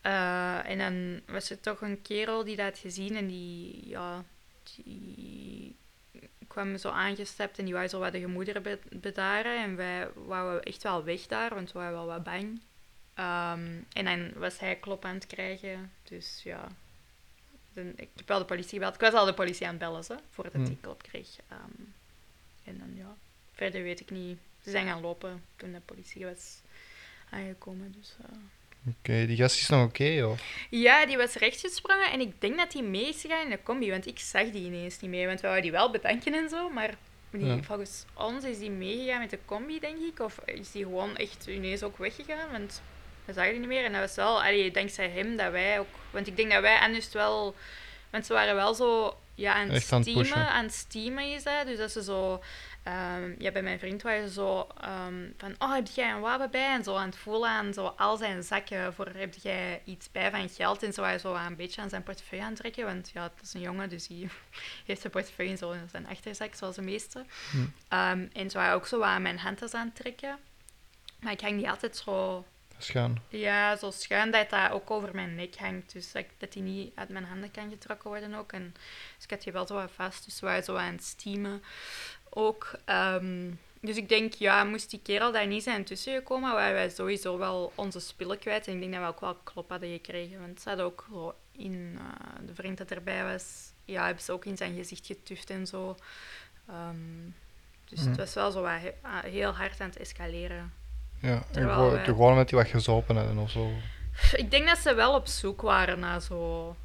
B: Eh, en dan was er toch een kerel die dat had gezien en die, ja, die kwam zo aangestapt en die wou zo wat de gemoederen be- bedaren. En wij wouden echt wel weg daar, want we waren wel wat bang. Ehm, en dan was hij klop aan het krijgen. Dus ja. Dan, ik heb wel de politie gebeld. Ik was al de politie aan het bellen, zo, voordat
A: Hmm.
B: ik klop kreeg. Ehm, en dan ja, verder weet ik niet. Ze zijn gaan lopen toen de politie was aangekomen. Dus, eh.
A: Oké, die gast is nog oké, joh.
B: Ja, die was rechtgesprongen en ik denk dat hij mee is gegaan in de combi, want ik zag die ineens niet meer. Want we wouden die wel bedanken en zo, maar die,
A: Ja.
B: volgens ons is die meegegaan met de combi, denk ik. Of is die gewoon echt ineens ook weggegaan, want we zagen die niet meer. En dat was wel, allee, dankzij hem dat wij ook... Want ik denk dat wij en dus wel... Want ze waren wel zo ja, aan het
A: Echt aan het
B: steamen.
A: pushen.
B: Aan het steamen is dat. Dus dat ze zo... ehm, ja, bij mijn vriend waren ze zo ehm, van... Oh, heb jij een wapen bij? En zo aan het voelen aan zo al zijn zakken. Voor heb jij iets bij van geld? En zo waren ze zo een beetje aan zijn portefeuille aan het trekken. Want ja, het is een jongen, dus die heeft zijn portefeuille zo in zijn achterzak, zoals de meeste.
A: Hm.
B: Ehm, en ze waren ook zo wat aan mijn handtas aan het trekken. Maar ik hang die altijd zo...
A: Dat is gaan.
B: Ja, zo schuin dat dat ook over mijn nek hangt. Dus dat, ik- dat die niet uit mijn handen kan getrokken worden ook. En, dus ik had die wel zo wat vast. Dus we waren zo aan het steamen ook. Ehm, dus ik denk, ja, moest die kerel daar niet zijn tussengekomen, waren wij sowieso wel onze spullen kwijt. En ik denk dat we ook wel klop hadden gekregen. Want ze hadden ook zo in... eh, de vriend dat erbij was, ja, hebben ze ook in zijn gezicht getuft en zo. Ehm, dus
A: Hmm.
B: het was wel zo wat he- ah, heel hard aan het escaleren.
A: Ja, en
B: Terwijl
A: gewoon,
B: wij-
A: toen gewoon met die wat gezopen hadden of zo.
B: Pff, Ik denk dat ze wel op zoek waren naar zo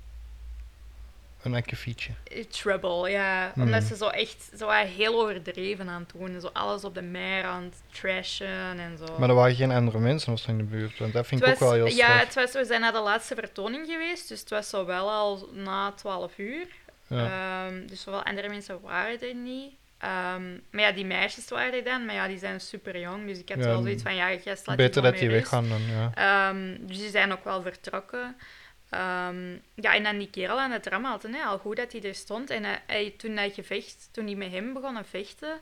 A: Een akkefietje.
B: eh, trouble, ja.
A: Hmm.
B: Omdat ze zo echt zo wat heel overdreven aan het doen. en Zo alles op de meer aan het trashen en zo.
A: Maar er waren geen andere mensen of zo in de buurt, want dat vind ik
B: Het
A: ook
B: was-
A: wel heel
B: Ja,
A: straf.
B: het was, we zijn naar de laatste vertoning geweest, dus het was zo wel al na 12 uur.
A: Ja.
B: Ehm, dus zoveel andere mensen waren er niet. Ehm, maar ja, die meisjes waren er dan, maar ja, die zijn super jong. Dus ik had
A: Ja,
B: wel zoiets van, ja, gast, laat
A: Beter
B: maar
A: dat die
B: met rust.
A: weggaan dan, ja.
B: Ehm, dus die zijn ook wel vertrokken. Ehm, ja, en dan die kerel aan het rammen hadden, hè, al goed dat hij er stond. En hij- hij, toen dat gevecht, toen die met hem begonnen vechten,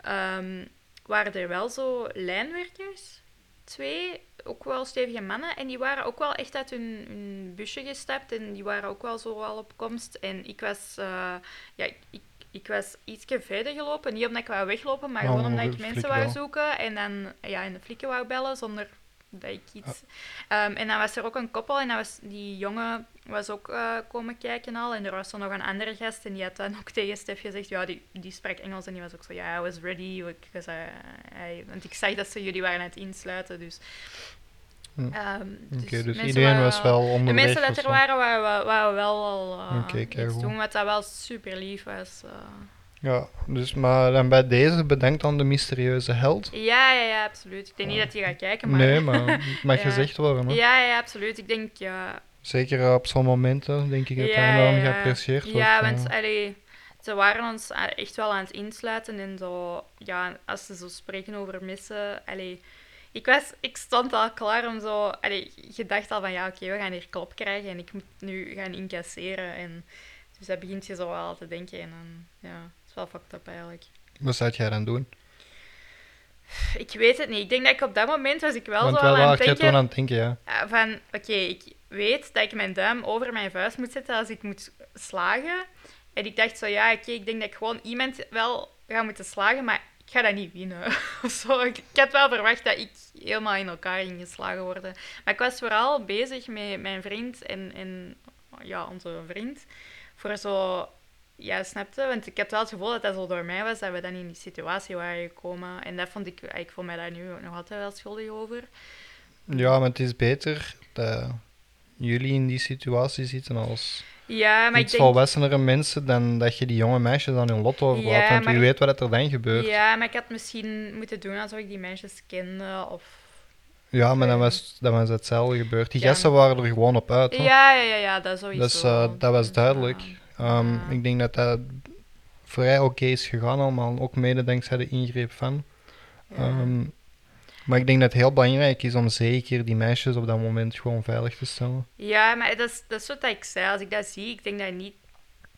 B: ehm, waren er wel zo lijnwerkers. Twee, ook wel stevige mannen. En die waren ook wel echt uit hun, hun busje gestapt. En die waren ook wel zo al op komst. En ik was, eh, ja, ik, ik, ik was ietsje verder gelopen. Niet omdat ik wou weglopen, maar
A: Ja,
B: gewoon
A: omdat
B: omdat ik
A: je
B: mensen
A: flikken
B: wou
A: wou.
B: zoeken. En dan ja, in de flikken wou bellen, zonder dat ik iets... Ehm, en dan was er ook een koppel en dat was, die jongen was ook eh, komen kijken al. En er was er nog een andere gast en die had dan ook tegen Stef gezegd... Ja, die, die sprak Engels en die was ook zo... Ja, I was ready. Ik was, eh, hij- want ik zag dat ze jullie waren aan het insluiten, dus...
A: Hm.
B: Ehm,
A: Oké, dus
B: mensen
A: iedereen
B: waren
A: was wel
B: De
A: onderweg.
B: mensen
A: of
B: dat er
A: zo.
B: waren, waren, wel- waren wel al eh,
A: Oké,
B: iets
A: keigoed.
B: doen, wat dat wel super lief was. eh.
A: Ja, dus, maar dan bij deze bedenkt dan de mysterieuze held.
B: Ja, ja, ja, absoluut. Ik denk niet
A: Ja.
B: dat hij gaat kijken, maar...
A: Nee, maar het mag
B: Ja.
A: gezegd worden. Hè?
B: Ja, ja, absoluut. Ik denk, ja,
A: Zeker eh, op zo'n momenten denk ik dat hij
B: ja,
A: enorm
B: ja.
A: geapprecieerd wordt.
B: Ja,
A: eh.
B: want allee, ze waren ons a- echt wel aan het insluiten en zo, ja, als ze zo spreken over missen, allee, ik, was, ik stond al klaar om zo, allee, je dacht al van ja, oké, we gaan hier klop krijgen en ik moet nu gaan incasseren. En, dus dat begint je zo wel te denken en dan, ja, het is wel fucked up eigenlijk.
A: Wat zou jij dan doen?
B: Ik weet het niet. Ik denk dat ik op dat moment was ik wel
A: want
B: zo al aan
A: waar
B: het
A: jij
B: denken.
A: toen aan het denken, ja.
B: Eh, van oké, ik weet dat ik mijn duim over mijn vuist moet zetten als ik moet slagen. En ik dacht zo, ja, oké, ik denk dat ik gewoon iemand wel ga moeten slagen, maar ik ga dat niet winnen. Of zo. Ik, ik had wel verwacht dat ik helemaal in elkaar ging geslagen worden. Maar ik was vooral bezig met mijn vriend en, en ja, onze vriend. Voor zo, ja, snapte. Want ik had wel het gevoel dat dat zo door mij was, dat we dan in die situatie waren gekomen. En dat vond ik, ik voel mij daar nu nog altijd wel schuldig over.
A: Ja, maar het is beter dat jullie in die situatie zitten als
B: Ja, maar
A: iets
B: ik denk...
A: volwassenere mensen dan dat je die jonge meisjes aan hun lot overlaat.
B: Ja,
A: want wie
B: maar-
A: weet wat er dan gebeurt. Ja,
B: Ja, maar ik had misschien moeten doen alsof ik die meisjes kende. Of...
A: Ja, maar dan was, dan was hetzelfde gebeurd. Die
B: Ja.
A: gasten waren er gewoon op uit. hoor.
B: Ja, ja, ja, ja, dat sowieso.
A: Dus eh, dat was duidelijk. Ehm,
B: Ja.
A: Ik denk dat dat vrij oké is gegaan allemaal. Ook mede dankzij de ingreep van.
B: Ja.
A: Ehm, maar ik denk dat het heel belangrijk is om zeker die meisjes op dat moment gewoon veilig te stellen.
B: Ja, maar dat is, dat is wat ik zei. Als ik dat zie, ik denk dat niet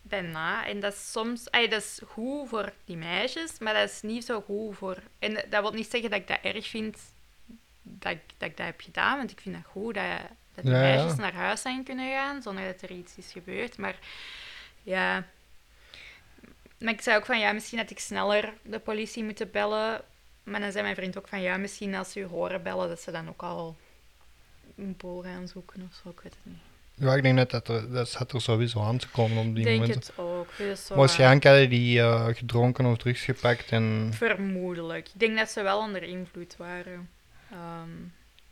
B: bijna. En dat is soms... Ay, dat is goed voor die meisjes, maar dat is niet zo goed voor... En dat wil niet zeggen dat ik dat erg vind dat ik dat, ik dat heb gedaan. Want ik vind dat goed dat, dat die
A: Ja, ja.
B: meisjes naar huis zijn kunnen gaan zonder dat er iets is gebeurd. Maar ja... Maar ik zei ook van, ja, misschien had ik sneller de politie moeten bellen. Maar dan zei mijn vriend ook van, ja, misschien als ze u horen bellen, dat ze dan ook al een pool gaan zoeken of zo, ik weet het niet.
A: Ja, ik denk dat dat, er, dat zat er sowieso aan te komen op die
B: Ik denk
A: momenten.
B: het ook. Dus zo,
A: Waarschijnlijk hadden die eh, gedronken of drugs gepakt en...
B: eh, Vermoedelijk. Ik denk dat ze wel onder invloed waren ehm,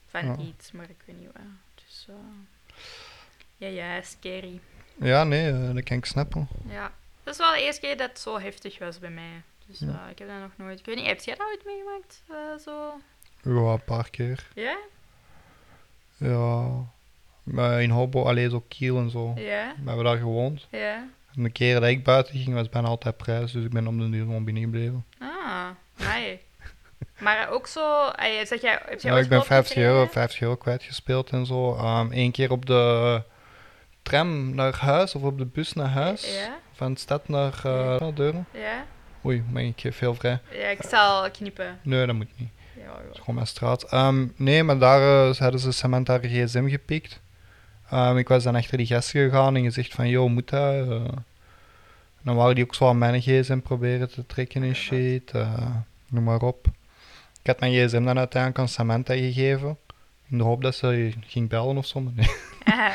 B: van
A: Ja.
B: iets, maar ik weet niet waar. Dus, eh, ja, ja, scary.
A: Ja, nee, eh, dat kan ik snappen.
B: Ja. Dat is wel de eerste keer dat het zo heftig was bij mij. Dus
A: Ja.
B: eh, ik heb dat nog nooit... Ik weet niet, heb jij dat ooit meegemaakt? eh, zo?
A: Ja, een paar keer.
B: Ja?
A: Ja. Maar in Hobo, alleen zo Kiel en zo.
B: Ja?
A: We hebben daar gewoond.
B: Ja?
A: En de keren dat ik buiten ging, was het bijna altijd prijs. Dus ik ben op de duur gewoon binnen gebleven.
B: Ah, nee. maar ook zo... eh, zeg jij, heb jij
A: Ja,
B: ooit
A: Nou, ik ben
B: geld
A: 50 euro,
B: gekregen?
A: 50 euro kwijtgespeeld en zo. Ehm Eén keer op de tram naar huis of op de bus naar huis.
B: Ja?
A: Van de stad naar eh deuren.
B: Ja?
A: Oei, maar ik geef veel vrij.
B: Ja, ik zal knippen.
A: Nee, dat moet niet.
B: Ja,
A: Dat is
B: ja.
A: gewoon mijn straat. Ehm, nee, maar daar eh, hadden ze Samantha haar gsm gepikt. Ehm, ik was dan achter die gasten gegaan en gezegd van, joh, moet dat? eh? dan waren die ook zo aan mijn gsm proberen te trekken en shit. eh, noem maar op. Ik had mijn gsm dan uiteindelijk aan Samantha gegeven. In de hoop dat ze ging bellen of zo. maar nee.
B: Ah,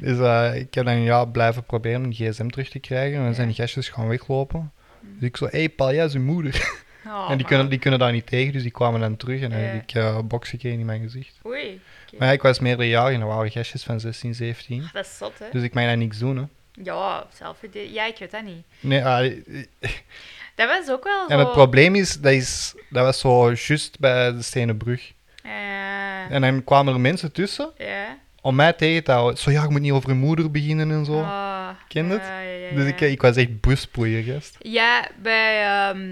A: Dus eh, ik heb dan ja, blijven proberen om die gsm terug te krijgen. En dan zijn die gastjes gaan weglopen. Dus ik zo, hé hey, Paul, jij is uw moeder.
B: Oh,
A: en die
B: man.
A: kunnen, die kunnen daar niet tegen, dus die kwamen dan terug. En dan
B: Ja.
A: heb ik eh boksen gekregen in mijn gezicht.
B: Oei.
A: Maar ja, ik was meerdere jaren en er waren gastjes van 16, 17.
B: Dat is zot, hè?
A: Dus ik mag daar niks doen, hè.
B: Ja, zelfverdediging. Ja, ik weet dat niet.
A: Nee, ah, eh,
B: Dat was ook wel zo...
A: en het probleem is dat, is, dat was zo juist bij de Stenen Brug.
B: Eh,
A: En dan kwamen er mensen tussen
B: ja.
A: om mij tegen te houden. Zo, ja, je moet niet over je moeder beginnen en zo.
B: Ah,
A: Ken je het?
B: Ja, ja, ja,
A: Dus ik, ik was echt busproeier, gast.
B: Ja, bij... ehm,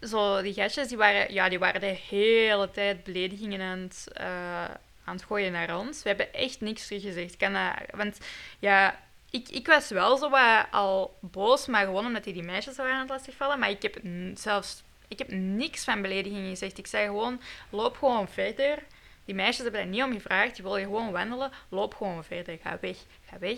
B: zo, die gastjes, die waren, ja, die waren de hele tijd beledigingen aan het, eh, aan het gooien naar ons. We hebben echt niks teruggezegd. Ik Kan dat- want ja, ik, ik was wel zo wat al boos, maar gewoon omdat die, die meisjes waren aan het lastigvallen. Maar ik heb n- zelfs ik heb niks van beledigingen gezegd. Ik zei gewoon, loop gewoon verder. Die meisjes hebben daar niet om gevraagd. Die wilden gewoon wandelen. Loop gewoon verder. Ga weg. Ga weg.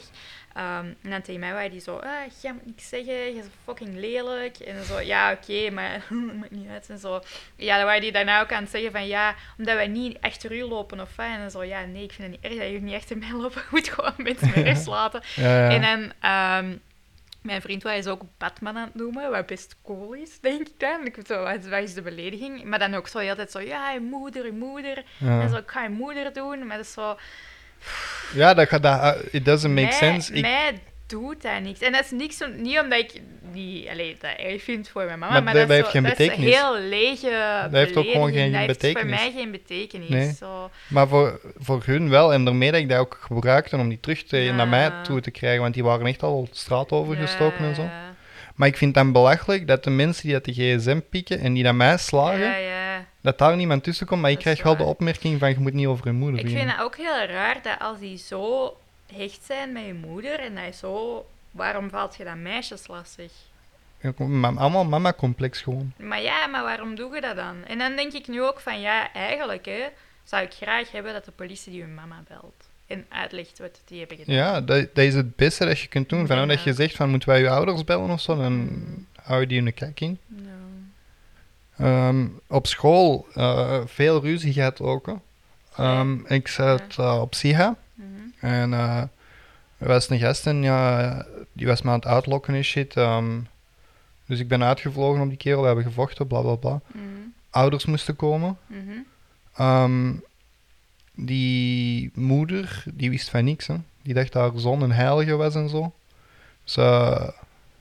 B: Ehm, en dan tegen mij waren die zo, ah, jij moet niks zeggen. Je is fucking lelijk. En zo, ja, oké, maar dat maakt niet uit. En zo, ja, dan waren die daarna ook aan het zeggen van, ja, omdat wij niet achter u lopen of wat. En dan zo, ja, nee, ik vind het niet erg dat jullie niet achter mij lopen. Je moet gewoon mensen met rust laten.
A: Ja,
B: En
A: ja.
B: dan, ehm, mijn vriend was ook Batman aan het noemen, wat best cool is, denk ik dan. Ik weet zo, wat, wat is de belediging? Maar dan ook zo heel tijd zo, ja, je moeder, je moeder. En zo,
A: ja.
B: ik ga je moeder doen. Maar dat is zo,
A: ja dat, gaat- dat, eh, it doesn't make
B: mij,
A: sense. Ik,
B: mij doet dat niks. En dat is niks, om- niet omdat ik die, allee, dat erg vind voor mijn mama, maar,
A: Maar dat
B: dat, is
A: heeft
B: zo-
A: geen
B: dat
A: betekenis.
B: is een heel lege
A: Dat heeft ook gewoon
B: belediging.
A: geen
B: Dat heeft voor
A: betekenis.
B: mij geen betekenis.
A: Nee.
B: Zo.
A: maar voor, voor hun wel. En daarmee dat ik dat ook gebruikte om die terug te,
B: Ja.
A: naar mij toe te krijgen. Want die waren echt al de straat overgestoken en zo.
B: Ja,
A: Maar ik vind het dan belachelijk dat de mensen die dat de gsm pikken en die naar mij slagen,
B: ja, ja.
A: dat daar niemand tussen komt. Maar ik
B: Dat is
A: krijg wel de
B: waar.
A: opmerking van je moet niet over je moeder
B: Ik vind
A: beginnen.
B: het ook heel raar dat als die zo hecht zijn met je moeder en dat je zo... Waarom valt je dan meisjes lastig?
A: Ja, kom, ma- Allemaal mama-complex gewoon.
B: Maar ja, maar waarom doe je dat dan? En dan denk ik nu ook van ja, eigenlijk hè, zou ik graag hebben dat de politie die hun mama belt. En uitlegt wat die hebben gedaan.
A: Ja, dat, dat is het beste dat je kunt doen. Van,
B: Ja.
A: Dat je zegt van moeten wij je ouders bellen of zo, dan
B: Mm.
A: hou je die in de kijk in.
B: Ja.
A: Ehm, op school eh, veel ruzie gehad ook. hè. Ehm, ik zat eh, op SIHA
B: Mhm.
A: en eh, er was een gast en ja, die was me aan het uitlokken en shit. ehm. dus ik ben uitgevlogen op die kerel, we hebben gevochten, bla bla bla.
B: Mhm.
A: ouders moesten komen.
B: Mhm.
A: Ehm, die moeder, die wist van niks. Hè. Die dacht dat haar zoon een heilige was en zo. Dus eh,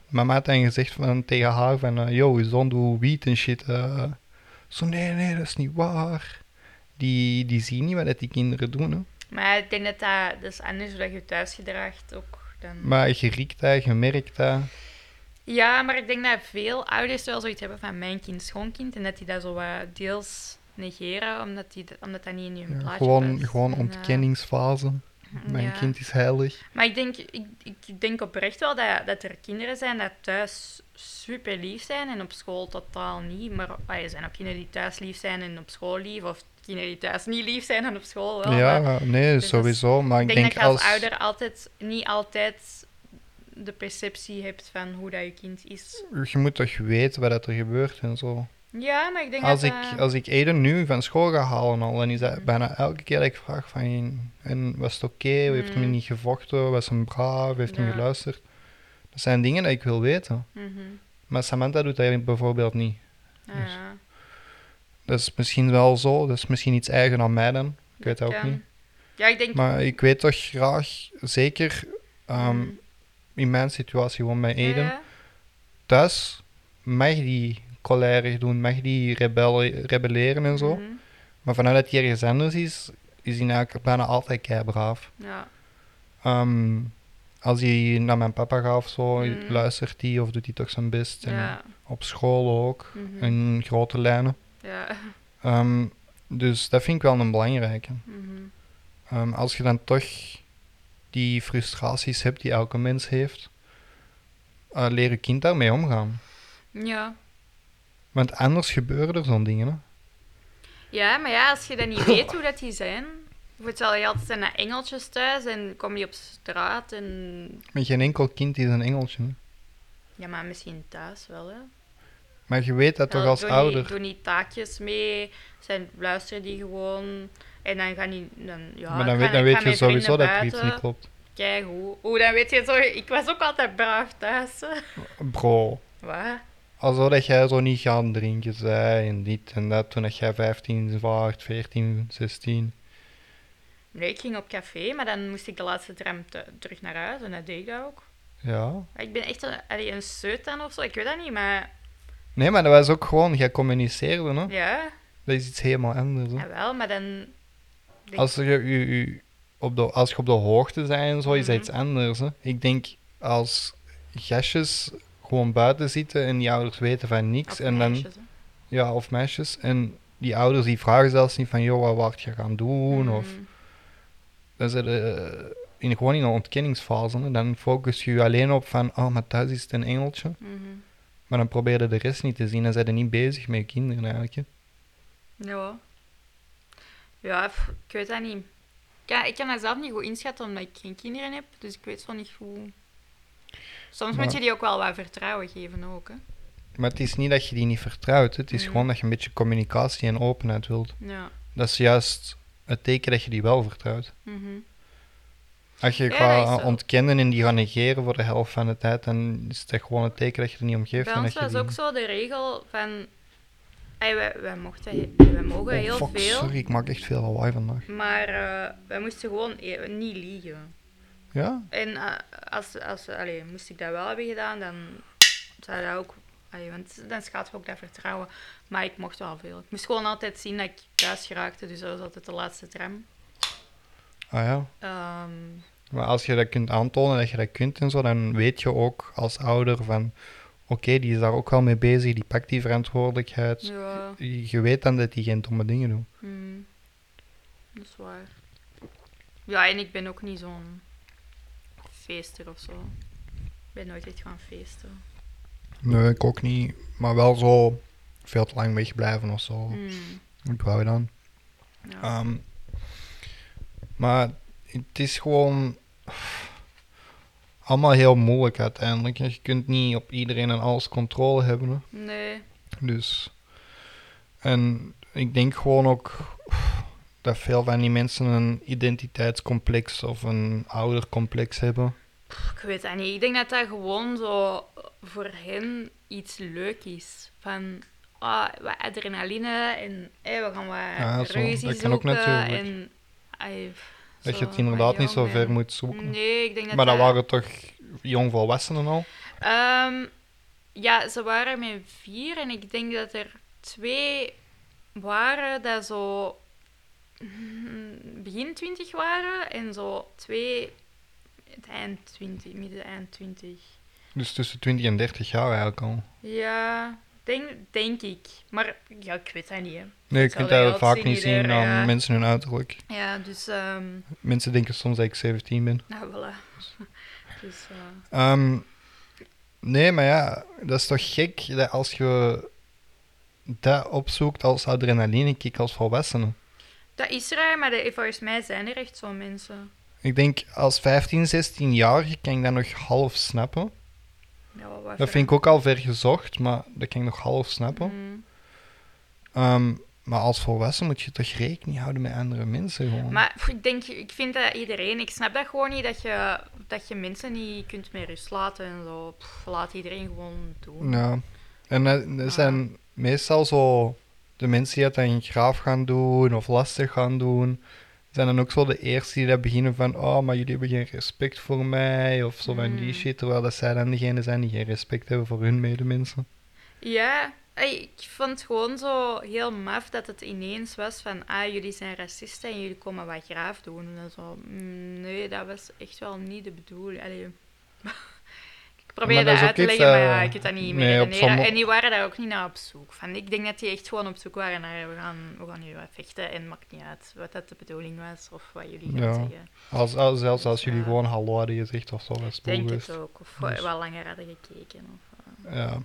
A: mama had dan gezegd van, tegen haar van... eh, Yo, je zoon doet wiet en shit. eh." Zo, nee, nee, dat is niet waar. Die, die zien niet wat dat die kinderen doen. Hè.
B: Maar ik denk dat dat, dat is anders hoe dat je je thuis gedraagt ook. Dan...
A: Maar je riekt dat, je merkt dat.
B: Ja, maar ik denk dat veel ouders wel zoiets hebben van mijn kind, schoonkind. En dat die dat zo wat deels negeren, omdat, die, dat- omdat dat niet in hun
A: Ja,
B: plaatje
A: gewoon,
B: past.
A: gewoon
B: En, eh,
A: ontkenningsfase. Mijn
B: ja.
A: kind is heilig.
B: Maar ik denk, ik, ik denk oprecht wel dat, dat er kinderen zijn dat thuis super lief zijn en op school totaal niet. Maar ah, er zijn ook kinderen die thuis lief zijn en op school lief. Of kinderen die thuis niet lief zijn en op school wel.
A: ja,
B: maar dus
A: nee,
B: dat is-
A: sowieso. Maar
B: ik
A: ik
B: denk,
A: denk,
B: dat je als,
A: als,
B: ouder altijd, niet altijd de perceptie hebt van hoe dat je kind is.
A: Je moet toch weten wat dat er gebeurt en zo.
B: Ja, maar ik denk
A: Als
B: dat... eh,
A: ik,
B: dat-
A: als ik Aiden nu van school ga halen al, dan is dat bijna elke keer dat ik vraag van... En was het oké? Heeft hij
B: Mm.
A: niet gevochten? Was hem braaf? Heeft hij
B: Ja.
A: geluisterd? Dat zijn dingen die ik wil weten.
B: Mhm.
A: Maar Samantha doet dat bijvoorbeeld niet.
B: Ah,
A: Dus-
B: ja.
A: Dat is misschien wel zo. Dat is misschien iets eigen aan mij dan. Ik weet
B: Dat
A: dat ook
B: kan.
A: niet.
B: Ja, ik denk...
A: Maar ik weet toch graag, zeker ehm,
B: Mm.
A: in mijn situatie, gewoon bij Aiden...
B: Ja,
A: Thuis mag die cholerig doen, mag die rebelle- rebelleren en zo.
B: mhm.
A: Maar vanuit dat hij ergens anders is, is hij eigenlijk bijna altijd keibraaf.
B: Ja.
A: Ehm als hij naar mijn papa gaat of zo,
B: Mm.
A: luistert hij of doet hij toch zijn best. En
B: Ja.
A: Op school ook,
B: mhm.
A: in grote lijnen.
B: Ja.
A: Ehm, dus dat vind ik wel een belangrijke.
B: mhm.
A: Ehm, als je dan toch die frustraties hebt die elke mens heeft, eh, leer je kind daarmee omgaan.
B: Ja.
A: Want anders gebeuren er zo'n dingen. Hè?
B: Ja, maar ja, als je dan niet weet hoe dat die zijn... Bijvoorbeeld, je altijd zijn dat engeltjes thuis en kom je op straat en...
A: Maar geen enkel kind is een engeltje. hè.
B: Ja, maar misschien thuis wel, hè.
A: Maar je weet dat
B: Ja,
A: toch als
B: doen
A: ouder.
B: Die, doen die taakjes mee, zijn, luisteren die gewoon. En dan gaan die... Dan, ja,
A: maar
B: ik
A: dan
B: ga-
A: weet,
B: ik
A: dan
B: ga
A: weet je
B: met
A: sowieso
B: vrienden
A: dat er iets
B: buiten.
A: niet klopt.
B: Kijk hoe. Oeh, dan weet je zo... Ik was ook altijd braaf thuis. hè.
A: Bro,
B: Wat?
A: alsof dat jij zo niet gaan drinken zei en dit en dat toen dat jij 15 waart, 14, 16.
B: Nee, ik ging op café, maar dan moest ik de laatste tram te- terug naar huis. En dat deed ik dat ook.
A: Ja.
B: Ik ben echt een, allee, een seut dan of zo. Ik weet dat niet, maar...
A: Nee, maar dat was ook gewoon, jij communiceerde, hè?
B: Ja,
A: Dat is iets helemaal anders. Hè?
B: jawel, maar dan... denk-
A: Als, er, je, je- je- op de, als je op de hoogte bent en zo, is dat
B: Mhm.
A: iets anders. Hè? Ik denk als gastjes gewoon buiten zitten en die ouders weten van niks.
B: Of
A: en dan,
B: meisjes, hè.
A: Ja, of meisjes. En die ouders die vragen zelfs niet van, joh, wat wart je gaan doen? Of,
B: Mhm.
A: dan zit je in, gewoon in een ontkenningsfase. hè. Dan focus je je alleen op van, oh, maar thuis is het een engeltje.
B: Mhm.
A: Maar dan probeer je de rest niet te zien. Dan zijn je niet bezig met je kinderen eigenlijk. hè.
B: Ja. Ja, pff, ik weet dat niet. Ja, ik kan dat zelf niet goed inschatten omdat ik geen kinderen heb, dus ik weet zo niet hoe. Soms
A: Maar-
B: moet je die ook wel wat vertrouwen geven ook, hè.
A: Maar het is niet dat je die niet vertrouwt. hè. Het is
B: Mhm.
A: gewoon dat je een beetje communicatie en openheid wilt.
B: Ja.
A: Dat is juist het teken dat je die wel vertrouwt.
B: Mhm.
A: Als je
B: Ja, dat
A: gaat
B: is zo.
A: ontkennen en die gaat negeren voor de helft van de tijd, dan is dat gewoon het teken dat je er niet om geeft.
B: Bij
A: en
B: ons
A: dat je
B: was
A: die-
B: ook zo de regel van... Ey, wij, wij, mochten, he- wij mogen
A: Oh,
B: heel
A: fuck,
B: veel,
A: sorry, ik maak echt veel lawaai vandaag.
B: maar eh, wij moesten gewoon e- niet liegen.
A: Ja,
B: En eh, als, als allee, moest ik dat wel hebben gedaan, dan zou dat ook. Allee, want dan schaadt ook dat vertrouwen. Maar ik mocht wel veel. Ik moest gewoon altijd zien dat ik thuis geraakte, dus dat was altijd de laatste tram.
A: ah ja.
B: Ehm,
A: Maar als je dat kunt aantonen dat je dat kunt en zo, dan weet je ook als ouder van oké, die is daar ook wel mee bezig, die pakt die verantwoordelijkheid.
B: ja,
A: Je weet dan dat die geen domme dingen doen.
B: hmm, dat is waar. Ja, en ik ben ook niet zo'n feester of zo. Ik ben nooit echt gaan feesten.
A: Nee, ik ook niet. Maar wel zo veel te lang wegblijven of zo.
B: Hmm,
A: Ik wou dan.
B: ja.
A: Ehm, maar het is gewoon allemaal heel moeilijk uiteindelijk. hè. Je kunt niet op iedereen en alles controle hebben. hè.
B: Nee.
A: Dus. En ik denk gewoon ook dat veel van die mensen een identiteitscomplex of een oudercomplex hebben.
B: Ik weet dat niet. Ik denk dat dat gewoon zo voor hen iets leuk is. Van, ah, wat adrenaline en hey, we gaan
A: Ja,
B: wat
A: Ah, zo.
B: ruzie
A: Dat kan ook
B: zoeken.
A: natuurlijk.
B: en, ai, pff,
A: Dat
B: zo,
A: je het inderdaad
B: maar
A: niet zo
B: jong,
A: ver
B: ja.
A: moet zoeken.
B: Nee, ik denk dat
A: maar dat
B: dat-
A: waren toch jongvolwassenen al?
B: Ehm, ja, ze waren met vier en ik denk dat er twee waren dat zo mm, begin twintig waren en zo twee, het eind twintig, midden eind twintig.
A: Dus tussen 20 en 30 jaar eigenlijk al.
B: Ja, denk, denk ik. Maar ja, ik weet dat niet. Hè.
A: Nee, je
B: Zal
A: kunt
B: je
A: dat
B: wel
A: vaak
B: zien
A: niet zien
B: hier,
A: aan
B: ja.
A: mensen hun uiterlijk.
B: Ja, dus, ehm
A: Mensen denken soms dat ik 17 ben.
B: nou voilà. Dus, eh,
A: Ehm, nee, maar ja, dat is toch gek dat als je dat opzoekt als adrenalinekick als volwassene.
B: dat is raar, maar de- volgens mij zijn er echt zo mensen.
A: Ik denk als 15, 16-jarige kan ik dat nog half snappen.
B: Ja, wat- wat
A: Dat vind ik ook al ver gezocht, maar dat kan ik nog half snappen.
B: Mm.
A: Ehm, maar als volwassen moet je toch rekening houden met andere mensen gewoon.
B: Maar pff, ik denk, ik vind dat iedereen, ik snap dat gewoon niet, dat je, dat je mensen niet kunt meer rust laten en zo. Pff, laat iedereen gewoon doen.
A: Ja. En dat, dat zijn meestal zo de mensen die dat dan graaf gaan doen of lastig gaan doen. Zijn dan ook zo de eerste die dat beginnen van, oh, maar jullie hebben geen respect voor mij of zo van die
B: Mm.
A: shit. Terwijl dat zij dan degene zijn die geen respect hebben voor hun medemensen.
B: Ja, ey, ik vond het gewoon zo heel maf dat het ineens was van, ah, jullie zijn racisten en jullie komen wat graaf doen. En dan zo, mm, nee, dat was echt wel niet de bedoeling. Allee. ik probeer
A: Maar
B: dat
A: dat is ook
B: uit te
A: iets,
B: leggen, maar ja,
A: eh,
B: ik weet dat niet
A: nee,
B: meer.
A: op sommige-
B: En die waren daar ook niet naar op zoek. Van, ik denk dat die echt gewoon op zoek waren naar, we gaan, we gaan hier wat vechten en maakt niet uit wat dat de bedoeling was of wat jullie gaan
A: Ja.
B: zeggen.
A: Als, als- zelfs als jullie
B: Ja.
A: gewoon hallo hadden gezegd of zo, was het
B: Ik denk
A: boelgeweest.
B: het ook. Of
A: Dus-
B: we wel langer hadden gekeken. Of, eh,
A: Ja.
B: ja.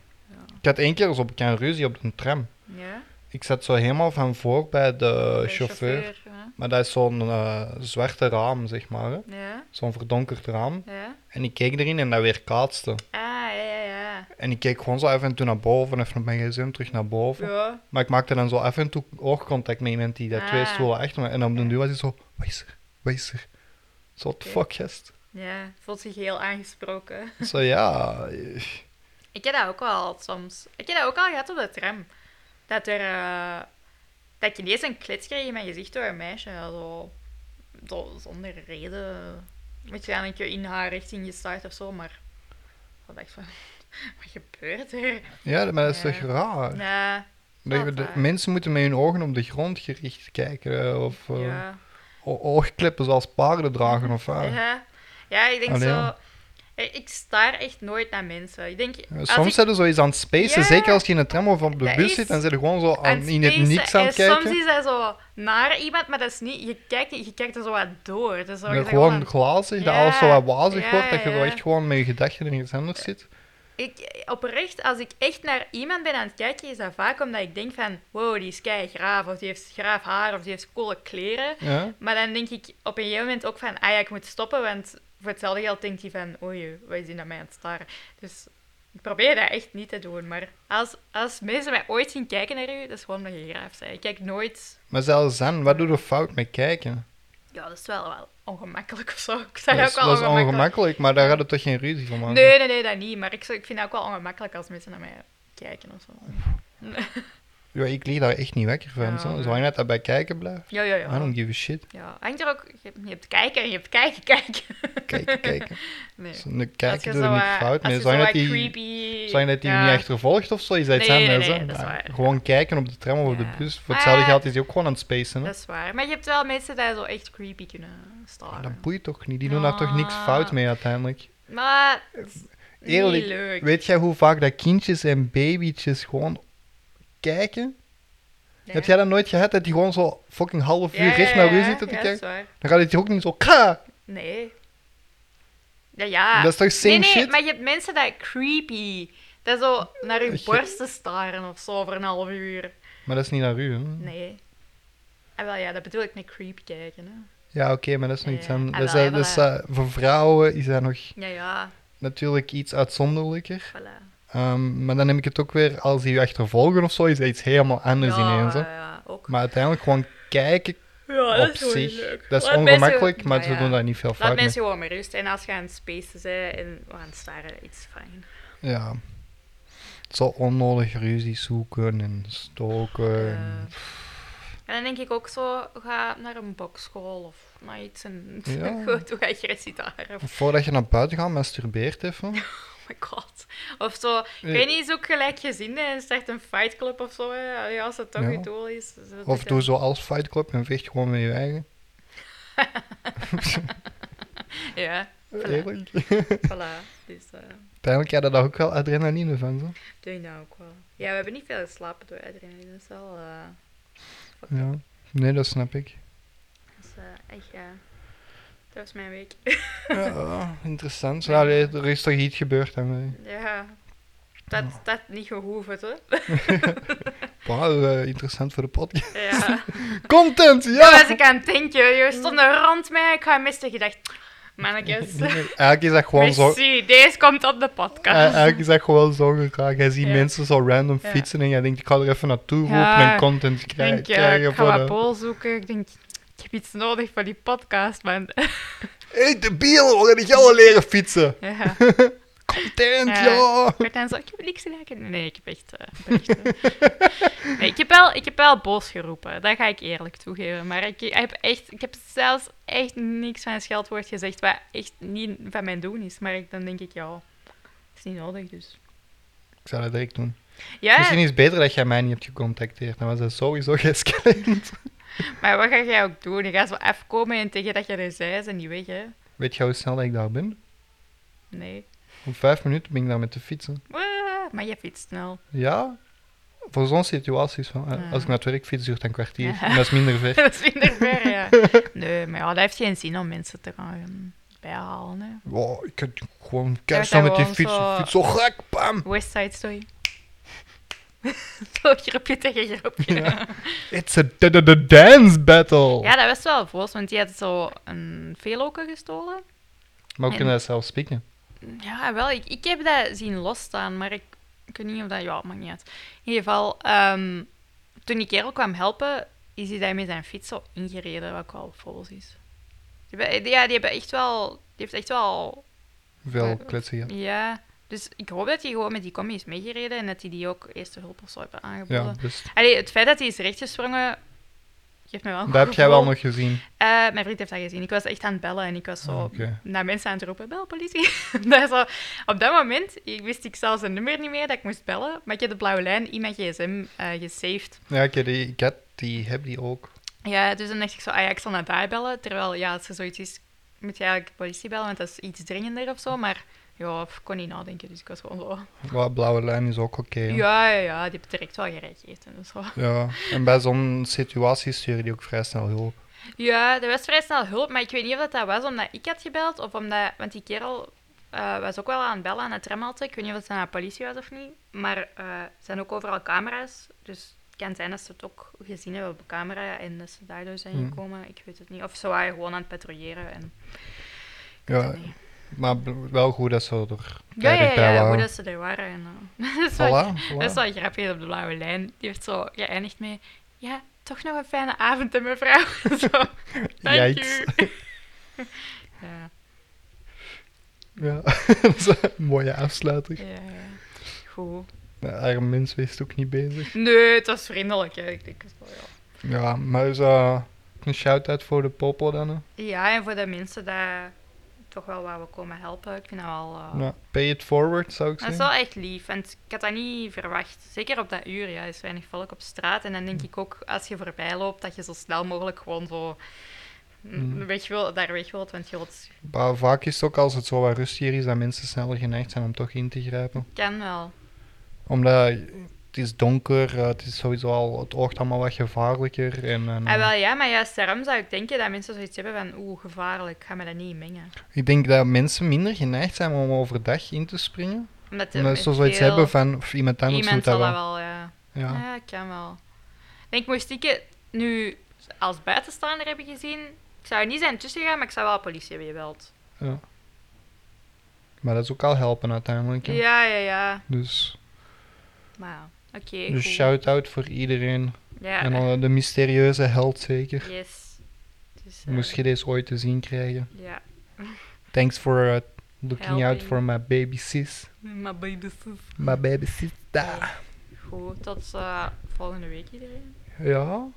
A: Ik had één keer zo bekend ruzie op een tram.
B: ja.
A: Ik zat zo helemaal van voor bij de
B: Bij
A: Eh, chauffeur.
B: ja.
A: Maar dat is zo'n eh, zwarte raam, zeg maar. hè.
B: Ja,
A: Zo'n verdonkerd raam.
B: ja.
A: En ik keek erin en dat weer kaatste.
B: Ah, ja, ja, ja.
A: En ik keek gewoon zo af en toe naar boven, even op mijn gsm terug naar boven.
B: Ja,
A: Maar ik maakte dan zo af en toe oogcontact met iemand die daar
B: Ah.
A: twee stoelen achter me. En op den
B: Ja.
A: duur was hij zo, wat is er? Wat is er? Zo, what the
B: Oké.
A: fuck, gast?
B: ja. Voelt zich heel aangesproken.
A: Zo, ja... eh,
B: Ik heb dat ook al soms. Ik heb dat ook al gehad op de tram. Dat er... eh, dat ik ineens een klets kreeg in mijn gezicht door een meisje. Zo, zo zonder reden. Waarschijnlijk in haar richting gestaard of zo, maar... Ik dacht van... Wat gebeurt er?
A: Ja, maar dat is
B: Ja.
A: toch raar?
B: Nee,
A: Dat je-
B: wel
A: de-
B: waar.
A: mensen moeten met hun ogen op de grond gericht kijken. eh, Of eh,
B: ja.
A: o- oogkleppen zoals paarden dragen of eh. waar.
B: Ja. ah. ja, ik denk
A: Allee,
B: zo...
A: ja.
B: Ik ik staar echt nooit naar mensen. Ik denk...
A: Ja,
B: als
A: Soms
B: ik-
A: zijn er zoiets aan het spacen,
B: Ja.
A: zeker als je in een tram of op de
B: Dat
A: bus
B: is
A: zit, dan zit je gewoon zo aan,
B: aan
A: in het
B: spacen.
A: niks aan het
B: En
A: kijken.
B: Soms is hij zo naar iemand, maar dat is niet... Je kijkt, je kijkt er zo wat door. Dat is zo,
A: Ja,
B: je zegt
A: gewoon
B: gewoon-
A: glazig, dat
B: Ja,
A: alles zo wat wazig
B: ja,
A: wordt, dat je zo
B: ja. Eh.
A: echt gewoon met je gedachten in iets anders zit.
B: ik, oprecht, als ik echt naar iemand ben aan het kijken, is dat vaak omdat ik denk van... Wow, die is kei graaf, of die heeft graaf haar, of die heeft coole kleren.
A: Ja?
B: Maar dan denk ik op een gegeven moment ook van... Ah ja, ik moet stoppen, want voor hetzelfde geld denkt hij van... Oei, wat is die naar mij aan het staren? Dus ik probeer dat echt niet te doen. Maar als, als mensen mij ooit zien kijken naar u, dat is gewoon omdat je graaf bent. Ik kijk nooit...
A: Maar zelfs dan, wat doe je fout met kijken?
B: Ja, dat is wel, wel ongemakkelijk of zo. Ik
A: Dat
B: zou dat
A: is,
B: ook wel
A: dat is
B: ongemakkelijk.
A: ongemakkelijk, maar daar hadden we toch geen ruzie van maken?
B: Nee, nee, nee, dat niet. Maar ik, zou- ik vind het ook wel ongemakkelijk als mensen naar mij kijken of zo.
A: Ja, ik lig daar echt niet wakker van,
B: Ja,
A: zo.
B: nee.
A: zolang dat dat bij kijken blijft.
B: Ja, ja,
A: I
B: ja.
A: don't give a shit.
B: Ja, hangt er ook... Je hebt, je hebt kijken en je hebt kijken, kijken.
A: Kijken, kijken.
B: Nee.
A: Dus dan
B: Als je
A: kijken doe
B: zo,
A: je niks
B: eh,
A: fout
B: als
A: mee.
B: je zo
A: Zolang dat
B: wat
A: die,
B: creepy...
A: zolang dat die je
B: ja.
A: niet achtervolgt of zo, is dat iets
B: Nee, nee,
A: anders.
B: nee,
A: hè.
B: dat is
A: Maar
B: waar.
A: Gewoon kijken op de tram of
B: Ja.
A: op de bus, voor
B: Maar
A: hetzelfde
B: ja,
A: geld is die ook gewoon aan het spacen. Hè?
B: Dat is waar. Maar je hebt wel mensen die zo echt creepy kunnen
A: Maar
B: staren.
A: Ah, dat boeit toch niet, die doen daar toch niks
B: Ja.
A: fout mee uiteindelijk.
B: Maar...
A: Eerlijk,
B: niet leuk.
A: Weet jij hoe vaak dat kindjes en babytjes gewoon kijken?
B: Ja.
A: Heb jij dat nooit gehad dat die gewoon zo fucking half uur
B: Ja,
A: recht
B: ja,
A: naar u
B: ja,
A: zitten te
B: ja, dat is
A: kijken?
B: waar.
A: Dan gaat het hier ook niet zo ka.
B: Nee. Ja, ja.
A: Dat is toch same
B: Ah. nee, nee,
A: shit?
B: maar je hebt mensen dat creepy... Dat zo naar hun
A: Je-
B: borsten staren of zo voor een half uur.
A: Maar dat is niet naar u, hè?
B: Nee. En wel ja, dat bedoel ik met creep kijken. Hè.
A: Ja, oké, maar dat is nog iets
B: Ja,
A: anders.
B: ah,
A: Dat is,
B: wel,
A: dat is,
B: voilà.
A: eh, voor vrouwen is dat nog
B: Ja, ja,
A: natuurlijk iets uitzonderlijker.
B: voilà.
A: Ehm, maar dan neem ik het ook weer, als die je achtervolgen of zo, is dat iets helemaal anders
B: ja, Oh,
A: ineens. Hè?
B: Ja, ja, ook.
A: Maar uiteindelijk gewoon kijken
B: ja,
A: op zich. Dat is ongemakkelijk, maar ze doen daar niet veel
B: Laat
A: fout mee.
B: mensen gewoon maar rust. En als je aan het spacen bent en we aan het staren, it's fine.
A: Ja. Zo onnodig ruzie zoeken en stoken.
B: Ja.
A: en-
B: En dan denk ik ook zo, ga naar een bokschool of naar iets en
A: Ja.
B: goed, doe agressie daar. Of...
A: Voordat je naar buiten gaat, masturbeert even.
B: Oh my god. Of zo. Ik weet niet, zoek gelijkgezinden en start een fightclub of zo. Hè. Ja, Als dat toch
A: Ja.
B: je doel is. dat is
A: Of
B: het.
A: doe zoals Fight Club en vecht gewoon met je eigen.
B: Ja, voilà.
A: Eerlijk.
B: voilà. Dus eh,
A: Uiteindelijk had je daar ook wel adrenaline van, zo.
B: ik doe je nou ook wel. Ja, we hebben niet veel geslapen door adrenaline. Dat is wel... eh,
A: Ja. Nee, dat snap ik.
B: dat is eh, echt... ja. dat was mijn week.
A: Ja, interessant. Nou, nee, er is toch iets gebeurd aan mij.
B: ja. Dat,
A: Oh.
B: dat niet gehoeven, hè?
A: Wauw, eh, interessant voor de podcast.
B: Ja.
A: Content,
B: Toen was
A: ja!
B: ik aan het denken, je stond er rond mij. Ik had meestal gedacht, mannetjes,
A: Eigenlijk is dat gewoon zo...
B: merci, deze komt op de
A: eh,
B: podcast.
A: Eigenlijk is dat gewoon zo gekraakt. Jij ziet
B: Ja.
A: mensen zo random
B: Ja.
A: fietsen en jij denkt, ik ga er even naartoe roepen
B: Ja.
A: en content
B: ik
A: krij-
B: denk, ja,
A: krijgen
B: ik ga
A: voor
B: wat
A: de...
B: bol zoeken. Ik denk, ik heb iets nodig voor die podcast, man.
A: Hey, de biel, we gaan jou al leren fietsen.
B: ja.
A: Content,
B: Ja.
A: ja!
B: Maar dan zo, ik heb niks gedaan. Nee, ik heb echt eh, berichten. nee, ik heb, wel, ik heb wel boos geroepen, dat ga ik eerlijk toegeven. Maar ik, ik heb, echt, ik heb zelfs echt niks van een scheldwoord gezegd, wat echt niet van mijn doen is. Maar ik, dan denk ik, ja, het is niet nodig, dus...
A: Ik zou dat direct doen.
B: Ja,
A: Misschien is het beter dat jij mij niet hebt gecontacteerd. Dan was dat sowieso geëscaleerd.
B: Maar wat ga jij ook doen? Je gaat zo afkomen en tegen dat je er zij en niet weg, hè?
A: Weet je hoe snel dat ik daar ben?
B: Nee.
A: Om vijf minuten ben ik daar met de fietsen.
B: Waa, maar je fietst snel.
A: Ja? Voor zo'n situaties. Van, eh,
B: Ja.
A: Als ik naar het werk fiets, duurt dat een kwartier.
B: Ja.
A: En dat is minder ver.
B: dat is minder ver, ja. Nee, maar ja, dat heeft geen zin om mensen te gaan ehm, bijhalen, hè.
A: Wow, ik kan gewoon
B: dat
A: keihard met die
B: gewoon
A: fiets.
B: zo-
A: Fiets zo gek, bam!
B: West Side Story. Zo grapje tegen grapje. Ja.
A: It's a da- da- da- dance battle!
B: dat was wel volgens, want die had zo een veeloker gestolen.
A: Maar we kunnen dat zelf spieken.
B: Ja, wel. Ik, ik heb dat zien losstaan, maar ik, ik weet niet of dat... Ja, maakt niet uit. In ieder geval, ehm, toen die kerel kwam helpen, is hij daar met zijn fiets zo ingereden, wat ook wel volgens is. Die hebben- Ja, die hebben echt wel... Die heeft echt wel...
A: Veel
B: Maar-
A: kletsen hier.
B: Ja. Dus ik hoop dat hij gewoon met die combi is meegereden en dat hij die ook eerste hulp of zo heeft aangeboden.
A: Ja, dus
B: Allee, het feit dat hij is rechtgesprongen, geeft me wel een
A: dat
B: goed
A: heb jij wel
B: gevoel.
A: nog gezien.
B: Eh, mijn vriend heeft dat gezien. Ik was echt aan het bellen en ik was zo
A: Ah, oké.
B: naar mensen aan het roepen, bel politie. dat zo, op dat moment ik wist ik zelfs een nummer niet meer dat ik moest bellen, maar ik heb de blauwe lijn in mijn gsm eh gesaved.
A: Ja, ik, heb die, ik heb die, heb die ook.
B: Ja, dus dan dacht ik zo, ah ja, ik zal naar daar bellen. Terwijl, ja, als er zoiets is, moet je eigenlijk de politie bellen, want dat is iets dringender of zo. Maar ja, ik kon niet nadenken, dus ik was gewoon zo...
A: Wat blauwe lijn is ook oké. hè.
B: Ja, ja, ja, die heeft direct wel gereageerd en zo.
A: Ja, en bij zo'n situatie sturen die ook vrij snel hulp.
B: Ja, er was vrij snel hulp, maar ik weet niet of dat, dat was omdat ik had gebeld of omdat... Want die kerel eh, was ook wel aan het bellen aan het tramhalte. Ik weet niet of het naar de politie was of niet. Maar eh, er zijn ook overal camera's, dus het kan zijn dat ze het ook gezien hebben op de camera en dat ze daardoor zijn
A: Hmm.
B: gekomen. Ik weet het niet. Of ze waren gewoon aan het patrouilleren en... ik weet
A: Ja,
B: het niet.
A: maar b- wel goed dat ze er
B: Ja, ja,
A: tijdig
B: ja,
A: bij
B: ja, hoe
A: waren.
B: dat ze er waren. En, eh, dat is wel
A: Voilà,
B: dat is
A: voilà.
B: wel grappig op de blauwe lijn. Die heeft zo geëindigd met... Ja, toch nog een fijne avond, hè, mevrouw. zo, thank
A: Yikes.
B: you. ja,
A: Ja, dat is een mooie afsluiter.
B: ja, ja. Goed.
A: De arme mens wees ook niet bezig.
B: Nee, het was vriendelijk, hè. Ik denk het wel, ja.
A: Ja, maar is eh, een shout-out voor de popo dan? hè?
B: Ja, en voor de mensen die toch wel waar we komen helpen, ik vind dat wel... eh,
A: Ja, pay it forward, zou ik
B: Dat is
A: zeggen.
B: wel echt lief, want ik had dat niet verwacht. Zeker op dat uur, ja, er is weinig volk op straat. En dan denk ik ook, als je voorbij loopt, dat je zo snel mogelijk gewoon zo mm,
A: Mm.
B: weg wil, daar weg wilt. Want je wilt,
A: Maar vaak is het ook als het zo wat rustiger is, dat mensen sneller geneigd zijn om toch in te grijpen.
B: kan wel.
A: Omdat het is donker, eh, het is sowieso al, het oogt allemaal wat gevaarlijker. En, en,
B: Ah,
A: eh,
B: wel ja, maar juist daarom zou ik denken dat mensen zoiets hebben van oeh, gevaarlijk, ik ga me dat niet mengen.
A: ik denk dat mensen minder geneigd zijn om overdag in te springen.
B: Omdat de-
A: Omdat ze zoiets
B: veel-
A: hebben van of iemand anders
B: Iemand
A: doet dat
B: zal
A: wel.
B: dat wel, ja. Ja,
A: Ja.
B: kan wel. Ik denk, moest ik het nu als buitenstaander hebben gezien, ik zou er niet zijn tussen gaan, maar ik zou wel de politie hebben gebeld.
A: Maar dat is ook al helpen uiteindelijk. hè.
B: Ja, ja, ja.
A: Dus,
B: Maar ja, oké.
A: dus
B: goed.
A: shout-out voor iedereen.
B: Ja,
A: En dan de mysterieuze held zeker.
B: yes. Dus, eh,
A: Moest je deze ooit te zien krijgen.
B: Ja.
A: Thanks for eh, looking out
B: Helping.
A: for my baby sis.
B: Maar baby zus.
A: My baby sister.
B: Goed, tot eh, volgende week iedereen.
A: Ja,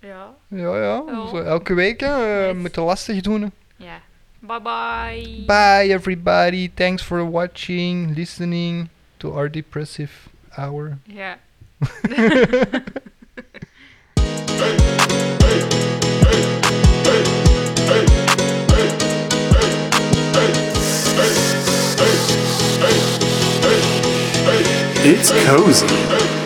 B: Ja.
A: ja, ja.
B: Oh.
A: Zo elke week hè, eh,
B: Nice.
A: moeten lastig doen. hè.
B: Ja. Bye bye.
A: Bye everybody. Thanks for watching, listening to our depressive hour.
B: Ja.
C: It's cozy.